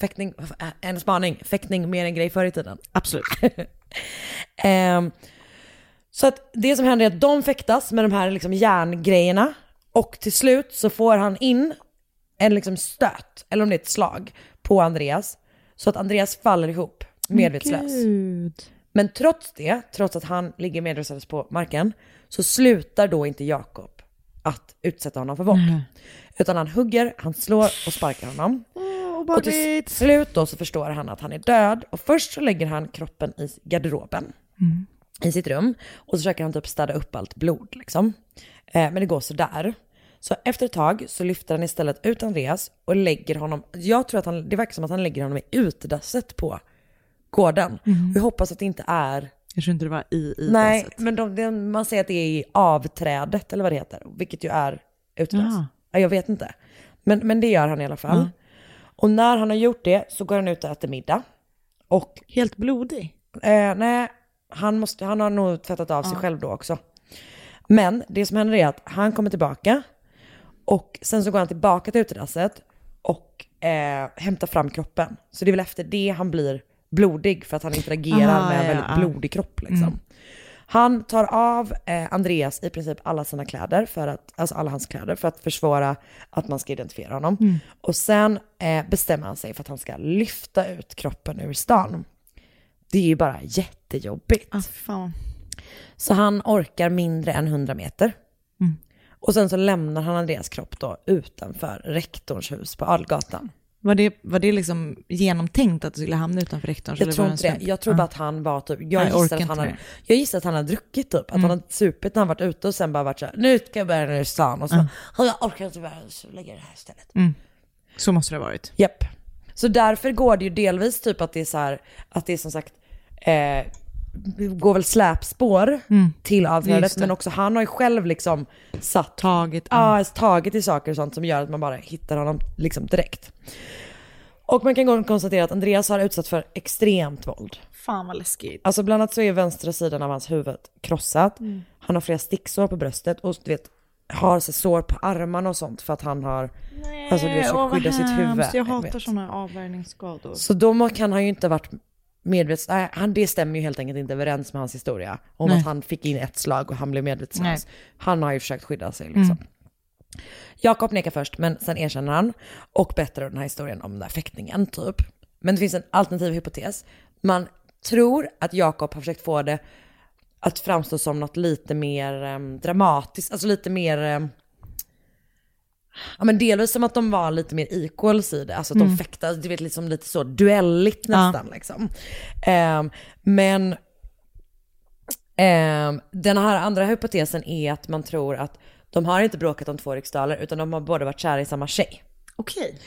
[SPEAKER 2] Fäktning, äh, en spaning, fäktning mer en grej förr i tiden.
[SPEAKER 1] Absolut.
[SPEAKER 2] Ehm, så att det som händer är att de fäktas med de här liksom järngrejerna och till slut så får han in en liksom stöt, eller om det är ett slag, på Andreas. Så att Andreas faller ihop, medvetslös. Men trots det, trots att han ligger medvetslös på marken, så slutar då inte Jakob att utsätta honom för våld. Utan han hugger, han slår och sparkar honom. Och till slut då så förstår han att han är död och först så lägger han kroppen i garderoben
[SPEAKER 4] Mm.
[SPEAKER 2] i sitt rum och så försöker han typ städa upp allt blod liksom. Eh, men det går sådär. Så efter ett tag så lyfter han istället ut Andreas och lägger honom, jag tror att han, det verkar som att han lägger honom i utedasset på gården.
[SPEAKER 1] Mhm.
[SPEAKER 2] Och jag hoppas att det inte är
[SPEAKER 1] Jag tror inte det var i, i
[SPEAKER 2] Nej,
[SPEAKER 1] dasset.
[SPEAKER 2] men de, de, man säger att det är i avträdet eller vad det heter, vilket ju är utlös.
[SPEAKER 1] Ja.
[SPEAKER 2] Ja, jag vet inte. Men, men det gör han i alla fall. Och när han har gjort det så går han ut och äter middag. Och,
[SPEAKER 1] Helt blodig?
[SPEAKER 2] Eh, nej, han, måste, han har nog tvättat av sig
[SPEAKER 1] Ja.
[SPEAKER 2] själv då också. Men det som händer är att han kommer tillbaka och sen så går han tillbaka till utedasset och eh, hämtar fram kroppen. Så det är väl efter det han blir blodig för att han interagerar
[SPEAKER 4] Ah,
[SPEAKER 2] med en
[SPEAKER 4] ja,
[SPEAKER 2] väldigt
[SPEAKER 4] ja.
[SPEAKER 2] blodig kropp. Liksom.
[SPEAKER 4] Mm.
[SPEAKER 2] Han tar av eh, Andreas i princip alla sina kläder, för att, alltså alla hans kläder, för att försvåra att man ska identifiera honom.
[SPEAKER 4] Mm.
[SPEAKER 2] Och sen eh, bestämmer han sig för att han ska lyfta ut kroppen ur stan. Det är ju bara jättejobbigt. Så han orkar mindre än 100 meter.
[SPEAKER 1] Mm.
[SPEAKER 2] Och sen så lämnar han Andreas kropp då utanför rektorns hus på Adelgatan.
[SPEAKER 1] Var det, var det liksom genomtänkt att det skulle hamna utanför rektorns?
[SPEAKER 2] Jag
[SPEAKER 1] eller
[SPEAKER 2] tror
[SPEAKER 1] var en
[SPEAKER 2] inte det.
[SPEAKER 1] slump?
[SPEAKER 2] Jag tror
[SPEAKER 1] Ja.
[SPEAKER 2] bara att han var typ, jag,
[SPEAKER 1] Nej, jag
[SPEAKER 2] gissar,
[SPEAKER 1] orkar
[SPEAKER 2] att han
[SPEAKER 1] inte
[SPEAKER 2] hade,
[SPEAKER 1] mer. Mm.
[SPEAKER 2] jag gissar att han hade druckit typ. Att han hade supit när han varit ute och sen bara varit såhär, nu ska jag börja ner i stan. Och så,
[SPEAKER 1] Mm.
[SPEAKER 2] "Ja, jag orkar inte bära så lägger jag det här istället.
[SPEAKER 1] Mm. Så måste det ha varit.
[SPEAKER 2] Japp. Så därför går det ju delvis typ att det är så här, att det är som sagt, eh, går väl släpspår
[SPEAKER 1] Mm.
[SPEAKER 2] till
[SPEAKER 1] Just
[SPEAKER 2] avträdet.
[SPEAKER 1] det.
[SPEAKER 2] Men också han har ju själv liksom satt,
[SPEAKER 1] tagit,
[SPEAKER 2] ah, tagit i saker och sånt som gör att man bara hittar honom liksom direkt. Och man kan gå och konstatera att Andreas har utsatts för extremt våld.
[SPEAKER 1] Fan vad läskigt.
[SPEAKER 2] Alltså bland annat så är vänstra sidan av hans huvud krossat.
[SPEAKER 1] Mm.
[SPEAKER 2] Han har flera sticksår på bröstet och du vet, har så sår på armarna och sånt för att han har, alltså du vet,
[SPEAKER 1] Åh,
[SPEAKER 2] så
[SPEAKER 1] vad
[SPEAKER 2] skydda sitt huvud.
[SPEAKER 1] hemskt. Jag
[SPEAKER 2] vet.
[SPEAKER 1] hatar sådana avvärjningsskador.
[SPEAKER 2] Så då må- kan han ju inte ha varit medvetslös. Nej, han, det stämmer ju helt enkelt inte överens med hans historia. Om
[SPEAKER 1] Nej.
[SPEAKER 2] att han fick in ett slag och han blev
[SPEAKER 1] Nej. Mm.
[SPEAKER 2] medvetslös. Han har ju försökt skydda sig liksom. Jakob nekar först, men sen erkänner han och berättar den här historien om den där fäktningen typ. Men det finns en alternativ hypotes. Man tror att Jakob har försökt få det att framstå som något lite mer em, dramatiskt, alltså lite mer em, Ja men delvis som att de var lite mer equals i det, alltså att
[SPEAKER 4] Mm.
[SPEAKER 2] de fäktades, du vet liksom lite så duelligt
[SPEAKER 4] Ja.
[SPEAKER 2] nästan liksom. Em, men Ehm, den här andra hypotesen är att man tror att de har inte bråkat om två riksdaler utan de har båda varit kära i samma tjej.
[SPEAKER 1] Okej.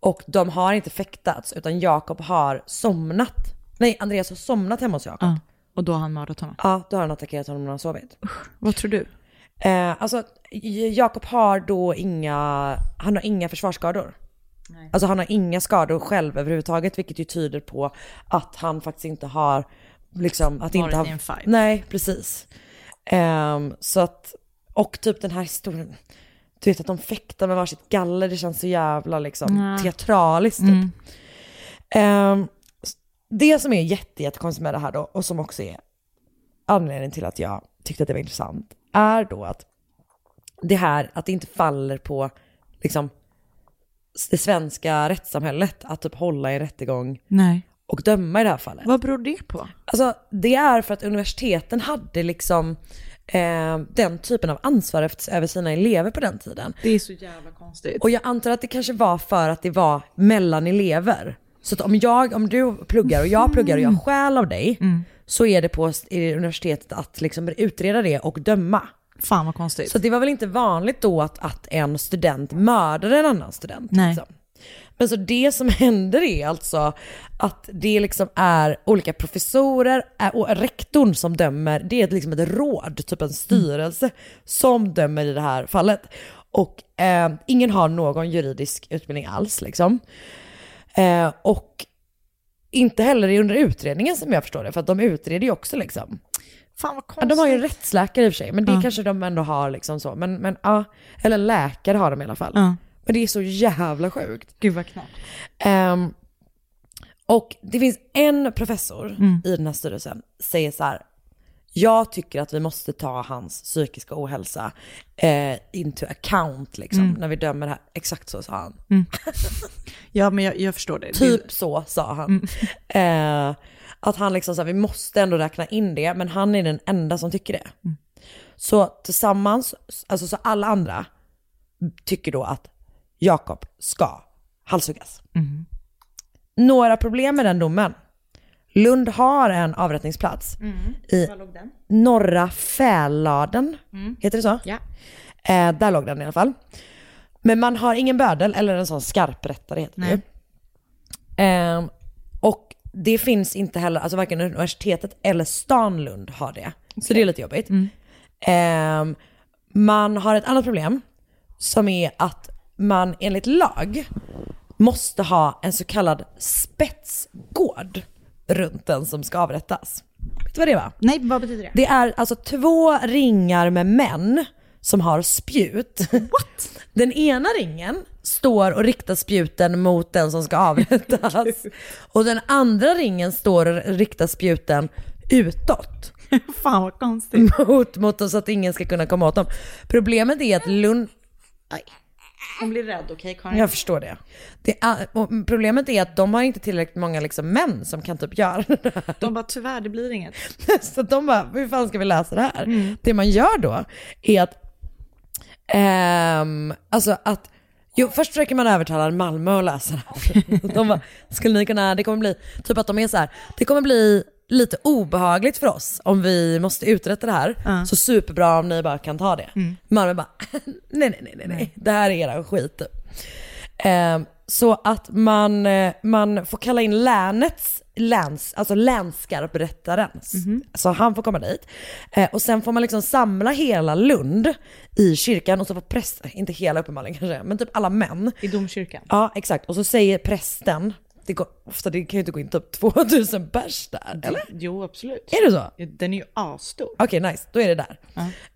[SPEAKER 2] Och de har inte fäktats utan Jakob har somnat. Nej, Andreas har somnat hemma hos Jakob.
[SPEAKER 1] Och då har han mördat honom.
[SPEAKER 2] Ja, då har han attackerat honom när han sovit.
[SPEAKER 1] Vad tror du?
[SPEAKER 2] Eh, alltså, J- Jakob har då inga, han har inga försvarsskador. Alltså han har inga skador själv överhuvudtaget, vilket ju tyder på att han faktiskt inte har, liksom, att
[SPEAKER 1] Varit
[SPEAKER 2] inte ha...
[SPEAKER 1] i en fight.
[SPEAKER 2] Nej, precis. Ehm, så att, och typ den här historien, du vet att de fäktar med varsitt galler, det känns så jävla liksom
[SPEAKER 1] Ja. Mm.
[SPEAKER 2] teatraliskt typ. Ehm, s- det som är jätte, jättekonstigt med det här då, och som också är anledningen till att jag tyckte att det var intressant, är då att det här att det inte faller på liksom, s- det svenska rättssamhället att typ hålla i en rättegång
[SPEAKER 1] Nej.
[SPEAKER 2] och döma i det här fallet.
[SPEAKER 1] Vad beror det på?
[SPEAKER 2] Alltså det är för att universiteten hade liksom eh, den typen av ansvar efter- över sina elever på den tiden.
[SPEAKER 1] Det är så jävla konstigt.
[SPEAKER 2] Och jag antar att det kanske var för att det var mellan elever. Så att om jag, om du pluggar och jag pluggar och jag stjäl av dig så är det på s- i universitetet att liksom utreda det och döma.
[SPEAKER 1] Fan vad konstigt.
[SPEAKER 2] Så det var väl inte vanligt då att, att en student mördar en annan student.
[SPEAKER 1] Nej.
[SPEAKER 2] Liksom. Men så det som händer är alltså att det liksom är olika professorer ä- och rektorn som dömer. Det är liksom ett råd, typ en styrelse, som dömer i det här fallet. Och eh, ingen har någon juridisk utbildning alls liksom. Eh, och inte heller under utredningen som jag förstår det, för att de utreder ju också liksom.
[SPEAKER 1] Fan vad
[SPEAKER 2] Ja,
[SPEAKER 1] konstigt.
[SPEAKER 2] de har ju en rättsläkare i och för sig, men det
[SPEAKER 1] Ja.
[SPEAKER 2] kanske de ändå har liksom så. Men, men ja, eller läkare har de i alla fall.
[SPEAKER 1] Ja.
[SPEAKER 2] Men det är så jävla sjukt.
[SPEAKER 1] Gud vad knappt.
[SPEAKER 2] Ehm, och det finns en professor
[SPEAKER 1] Mm.
[SPEAKER 2] i den här styrelsen säger så här, jag tycker att vi måste ta hans psykiska ohälsa eh, into account liksom,
[SPEAKER 1] Mm.
[SPEAKER 2] när vi dömer det här. Exakt så sa han.
[SPEAKER 1] Ja men jag, jag förstår det.
[SPEAKER 2] Typ så sa han. Eh, att han liksom sa, vi måste ändå räkna in det, men han är den enda som tycker det. Så tillsammans, alltså så alla andra tycker då att Jakob ska halshuggas.
[SPEAKER 1] Mhm.
[SPEAKER 2] Några problem med den domen. Lund har en avrättningsplats i norra Fäladen, heter det så?
[SPEAKER 1] Ja.
[SPEAKER 2] Eh, där låg den i alla fall. Men man har ingen bödel eller en sån skarprättare heter det ju. Ehm, Och det finns inte heller, alltså varken universitetet eller stan Lund har det. Så det är lite jobbigt. Ehm, man har ett annat problem som är att man enligt lag måste ha en så kallad spetsgård runt den som ska avrättas. Vet du vad det var?
[SPEAKER 1] Nej, vad betyder det?
[SPEAKER 2] Det är alltså två ringar med män som har spjut. What? Den ena ringen står och riktar spjuten mot den som ska avrättas. och den andra ringen står och riktar spjuten utåt.
[SPEAKER 1] Fan vad konstigt.
[SPEAKER 2] Mot, mot dem så att ingen ska kunna komma åt dem. Problemet är att Lund...
[SPEAKER 1] Hon blir rädd, okej Karin?
[SPEAKER 2] Jag förstår det. det är, och problemet är att de har inte tillräckligt många liksom män som kan typ göra det här.
[SPEAKER 1] De bara tyvärr det blir inget.
[SPEAKER 2] Så att de bara, hur fan ska vi lösa det här? Det man gör då är att, ehm, alltså att, jo först försöker man övertala Malmö att lösa det här. De bara, skulle ni kunna, det kommer bli, typ att de är så här, det kommer bli lite obehagligt för oss om vi måste uträtta det här. Så superbra om ni bara kan ta det. Malmö bara, nej, nej, nej, nej, nej, det här är era skit. Ehm, så att man, eh, man får kalla in länets, läns, alltså länsskarprättaren.
[SPEAKER 1] Mhm.
[SPEAKER 2] Så han får komma dit. Eh, och sen får man liksom samla hela Lund i kyrkan och så får prästen, inte hela uppenbarligen kanske, men typ alla män.
[SPEAKER 1] I domkyrkan?
[SPEAKER 2] Ja exakt. Och så säger prästen, det, går, ofta, det kan ju inte gå in typ 2000 pers där. Eller?
[SPEAKER 1] Jo absolut.
[SPEAKER 2] Är det så?
[SPEAKER 1] Den är ju asstor.
[SPEAKER 2] Okej, nice. Då är det där.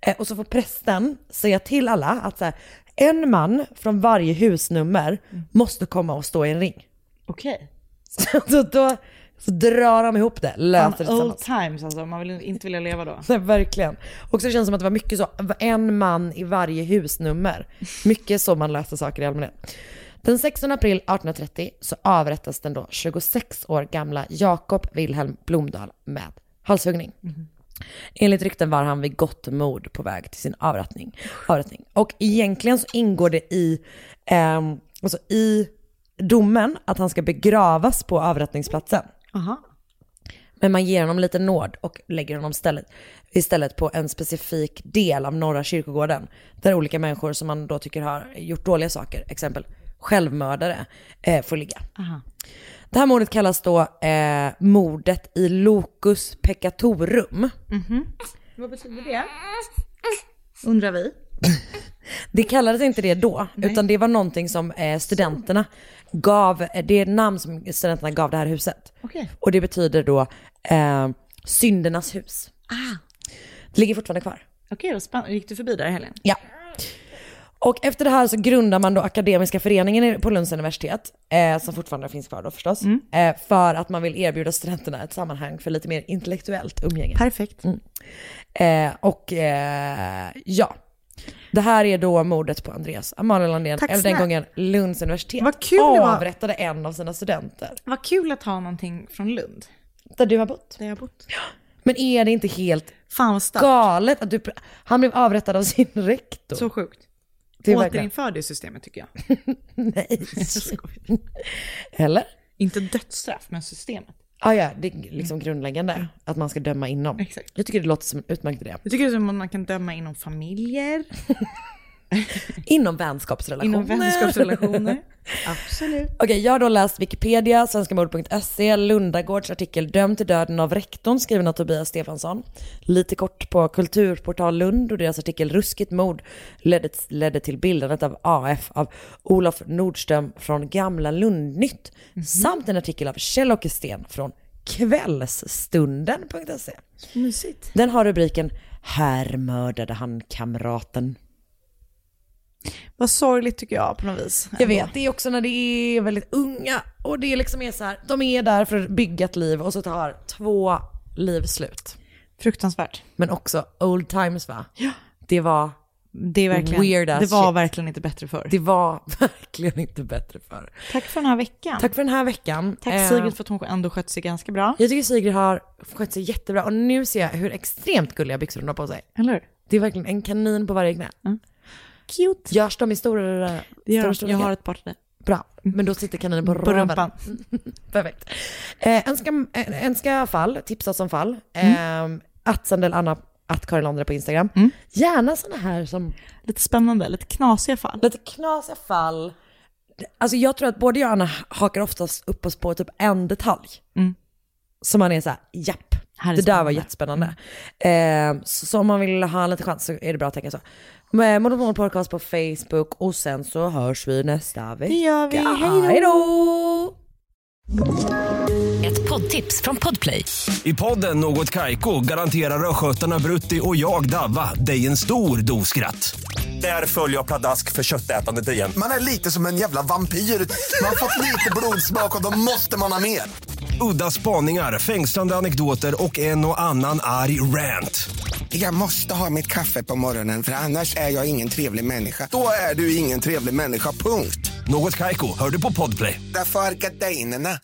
[SPEAKER 2] Eh, och så får prästen säga till alla att så här, en man från varje husnummer
[SPEAKER 1] Mm.
[SPEAKER 2] måste komma och stå i en ring.
[SPEAKER 1] Okej.
[SPEAKER 2] Så, då, då så drar de ihop det, löser
[SPEAKER 1] Fan,
[SPEAKER 2] det tillsammans.
[SPEAKER 1] old times alltså, man vill inte vilja leva då.
[SPEAKER 2] Nej, oh, verkligen. Och så känns det som att det var mycket så, en man i varje husnummer. Mycket så man löser saker i allmänhet. Den 16 april 1830 så avrättas den då 26 år gamla Jakob Wilhelm Blomdahl med halshuggning. Enligt rykten var han vid gott mod på väg till sin avrättning. avrättning. Och egentligen så ingår det i, ehm, alltså i domen att han ska begravas på avrättningsplatsen.
[SPEAKER 1] Aha.
[SPEAKER 2] Men man ger honom lite nåd och lägger honom istället, istället på en specifik del av norra kyrkogården. Där olika människor som man då tycker har gjort dåliga saker, exempel självmördare, eh, får ligga.
[SPEAKER 1] Aha.
[SPEAKER 2] Det här mordet kallas då eh, mordet i locus peccatorum.
[SPEAKER 1] Vad betyder det? Undrar vi.
[SPEAKER 2] Det kallades inte det då, utan det var någonting som eh, studenterna gav, eh, det är ett namn som studenterna gav det här huset.
[SPEAKER 1] Okej.
[SPEAKER 2] Och det betyder då eh, syndernas hus. Det ligger fortfarande kvar.
[SPEAKER 1] Okej, vad spännande. Gick du förbi där i helgen?
[SPEAKER 2] Ja. Och efter det här så grundar man då Akademiska föreningen i- på Lunds universitet, eh, som fortfarande finns kvar då förstås,
[SPEAKER 1] Mm.
[SPEAKER 2] eh, för att man vill erbjuda studenterna ett sammanhang för lite mer intellektuellt umgänge.
[SPEAKER 1] Perfekt.
[SPEAKER 2] Mm. Eh, och eh, ja, det här är då mordet på Andreas Amalia Landén,
[SPEAKER 1] Tack
[SPEAKER 2] eller den
[SPEAKER 1] snälla.
[SPEAKER 2] gången Lunds universitet,
[SPEAKER 1] Vad kul det var.
[SPEAKER 2] avrättade en av sina studenter.
[SPEAKER 1] Vad kul att ha någonting från Lund.
[SPEAKER 2] Där du har bott.
[SPEAKER 1] Där jag har bott.
[SPEAKER 2] Men är det inte helt
[SPEAKER 1] Fan
[SPEAKER 2] galet att du, pr- han blev avrättad av sin rektor?
[SPEAKER 1] Så sjukt.
[SPEAKER 2] Det är verkligen-
[SPEAKER 1] Återinför det systemet tycker jag.
[SPEAKER 2] Nej. Eller?
[SPEAKER 1] Inte dödsstraff, men systemet.
[SPEAKER 2] Ah, ja, det
[SPEAKER 1] Mm.
[SPEAKER 2] är liksom grundläggande att man ska döma inom. Jag tycker det låter som en utmärkt idé.
[SPEAKER 1] Jag tycker det är som att man kan döma inom familjer,
[SPEAKER 2] Inom vänskapsrelationer.
[SPEAKER 1] inom vänskapsrelationer. Absolut.
[SPEAKER 2] Okej, jag har då läst Wikipedia, svenskmord.se, E, Lundagårds artikel Dömd till döden av rektorn skriven av Tobias Stefansson. Lite kort på Kulturportal Lund och deras artikel Ruskigt mord ledde, ledde till bildandet av AF av Olof Nordström från Gamla Lundnytt
[SPEAKER 1] Mhm.
[SPEAKER 2] samt en artikel av Kjell-Åke Sten från kvällsstunden.se.
[SPEAKER 1] Mysigt.
[SPEAKER 2] Den har rubriken Här mördade han kamraten.
[SPEAKER 1] Vad sorgligt tycker jag på något vis.
[SPEAKER 2] Jag vet, det är också när det är väldigt unga och det liksom är så här, de är där för att bygga ett liv och så tar två liv slut.
[SPEAKER 1] Fruktansvärt.
[SPEAKER 2] Men också old times va? Det var
[SPEAKER 1] Det, är verkligen,
[SPEAKER 2] weird ass
[SPEAKER 1] det var
[SPEAKER 2] shit.
[SPEAKER 1] verkligen inte bättre förr.
[SPEAKER 2] Det var verkligen inte bättre förr.
[SPEAKER 1] Tack för den här veckan.
[SPEAKER 2] Tack för den här veckan.
[SPEAKER 1] Tack
[SPEAKER 2] Eh,
[SPEAKER 1] Sigrid för att hon ändå skött sig ganska bra.
[SPEAKER 2] Jag tycker Sigrid har skött sig jättebra och nu ser jag hur extremt gulliga byxor hon har på sig.
[SPEAKER 1] Eller hur?
[SPEAKER 2] Det är verkligen en kanin på varje knä.
[SPEAKER 1] Cute.
[SPEAKER 2] Görs de i stora,
[SPEAKER 1] Det gör
[SPEAKER 2] stora
[SPEAKER 1] de.
[SPEAKER 2] storlekar?
[SPEAKER 1] Jag har ett par till dig.
[SPEAKER 2] Bra, men då sitter kaninen på,
[SPEAKER 1] På rumpan.
[SPEAKER 2] Perfekt. Eh, önska, eh, önska fall, tipsa oss om fall.
[SPEAKER 1] Mm.
[SPEAKER 2] Eh, att Sandell Anna, att Karin Landre på Instagram. Gärna sådana här som...
[SPEAKER 1] Lite spännande, lite knasiga fall.
[SPEAKER 2] Lite knasiga fall. Alltså jag tror att både jag och Anna hakar oftast upp oss på typ en detalj.
[SPEAKER 1] Mm.
[SPEAKER 2] Så man är så här, japp,
[SPEAKER 1] Här är
[SPEAKER 2] det där var
[SPEAKER 1] spännande. Mm.
[SPEAKER 2] jättespännande. Eh, så, så om man vill ha lite chans så är det bra att tänka så. Men Monopol Podcast på Facebook och sen så hörs vi nästa vecka.
[SPEAKER 1] Det gör vi.
[SPEAKER 2] Hej då!
[SPEAKER 3] Ett poddtips från Podplay.
[SPEAKER 6] I podden Något Kaiko garanterar östgötarna Brutti och jag, Davva, dig en stor dos skratt. Där följer jag pladask för köttätandet igen.
[SPEAKER 7] Man är lite som en jävla vampyr. Man har fått lite blodsmak och då måste man ha mer.
[SPEAKER 6] Udda spaningar, fängslande anekdoter och en och annan arg rant.
[SPEAKER 7] Jag måste ha mitt kaffe på morgonen för annars är jag ingen trevlig människa. Då är du ingen trevlig människa, punkt.
[SPEAKER 6] Något Kaiko, hör du på Podplay.
[SPEAKER 7] Därför arkadeinerna.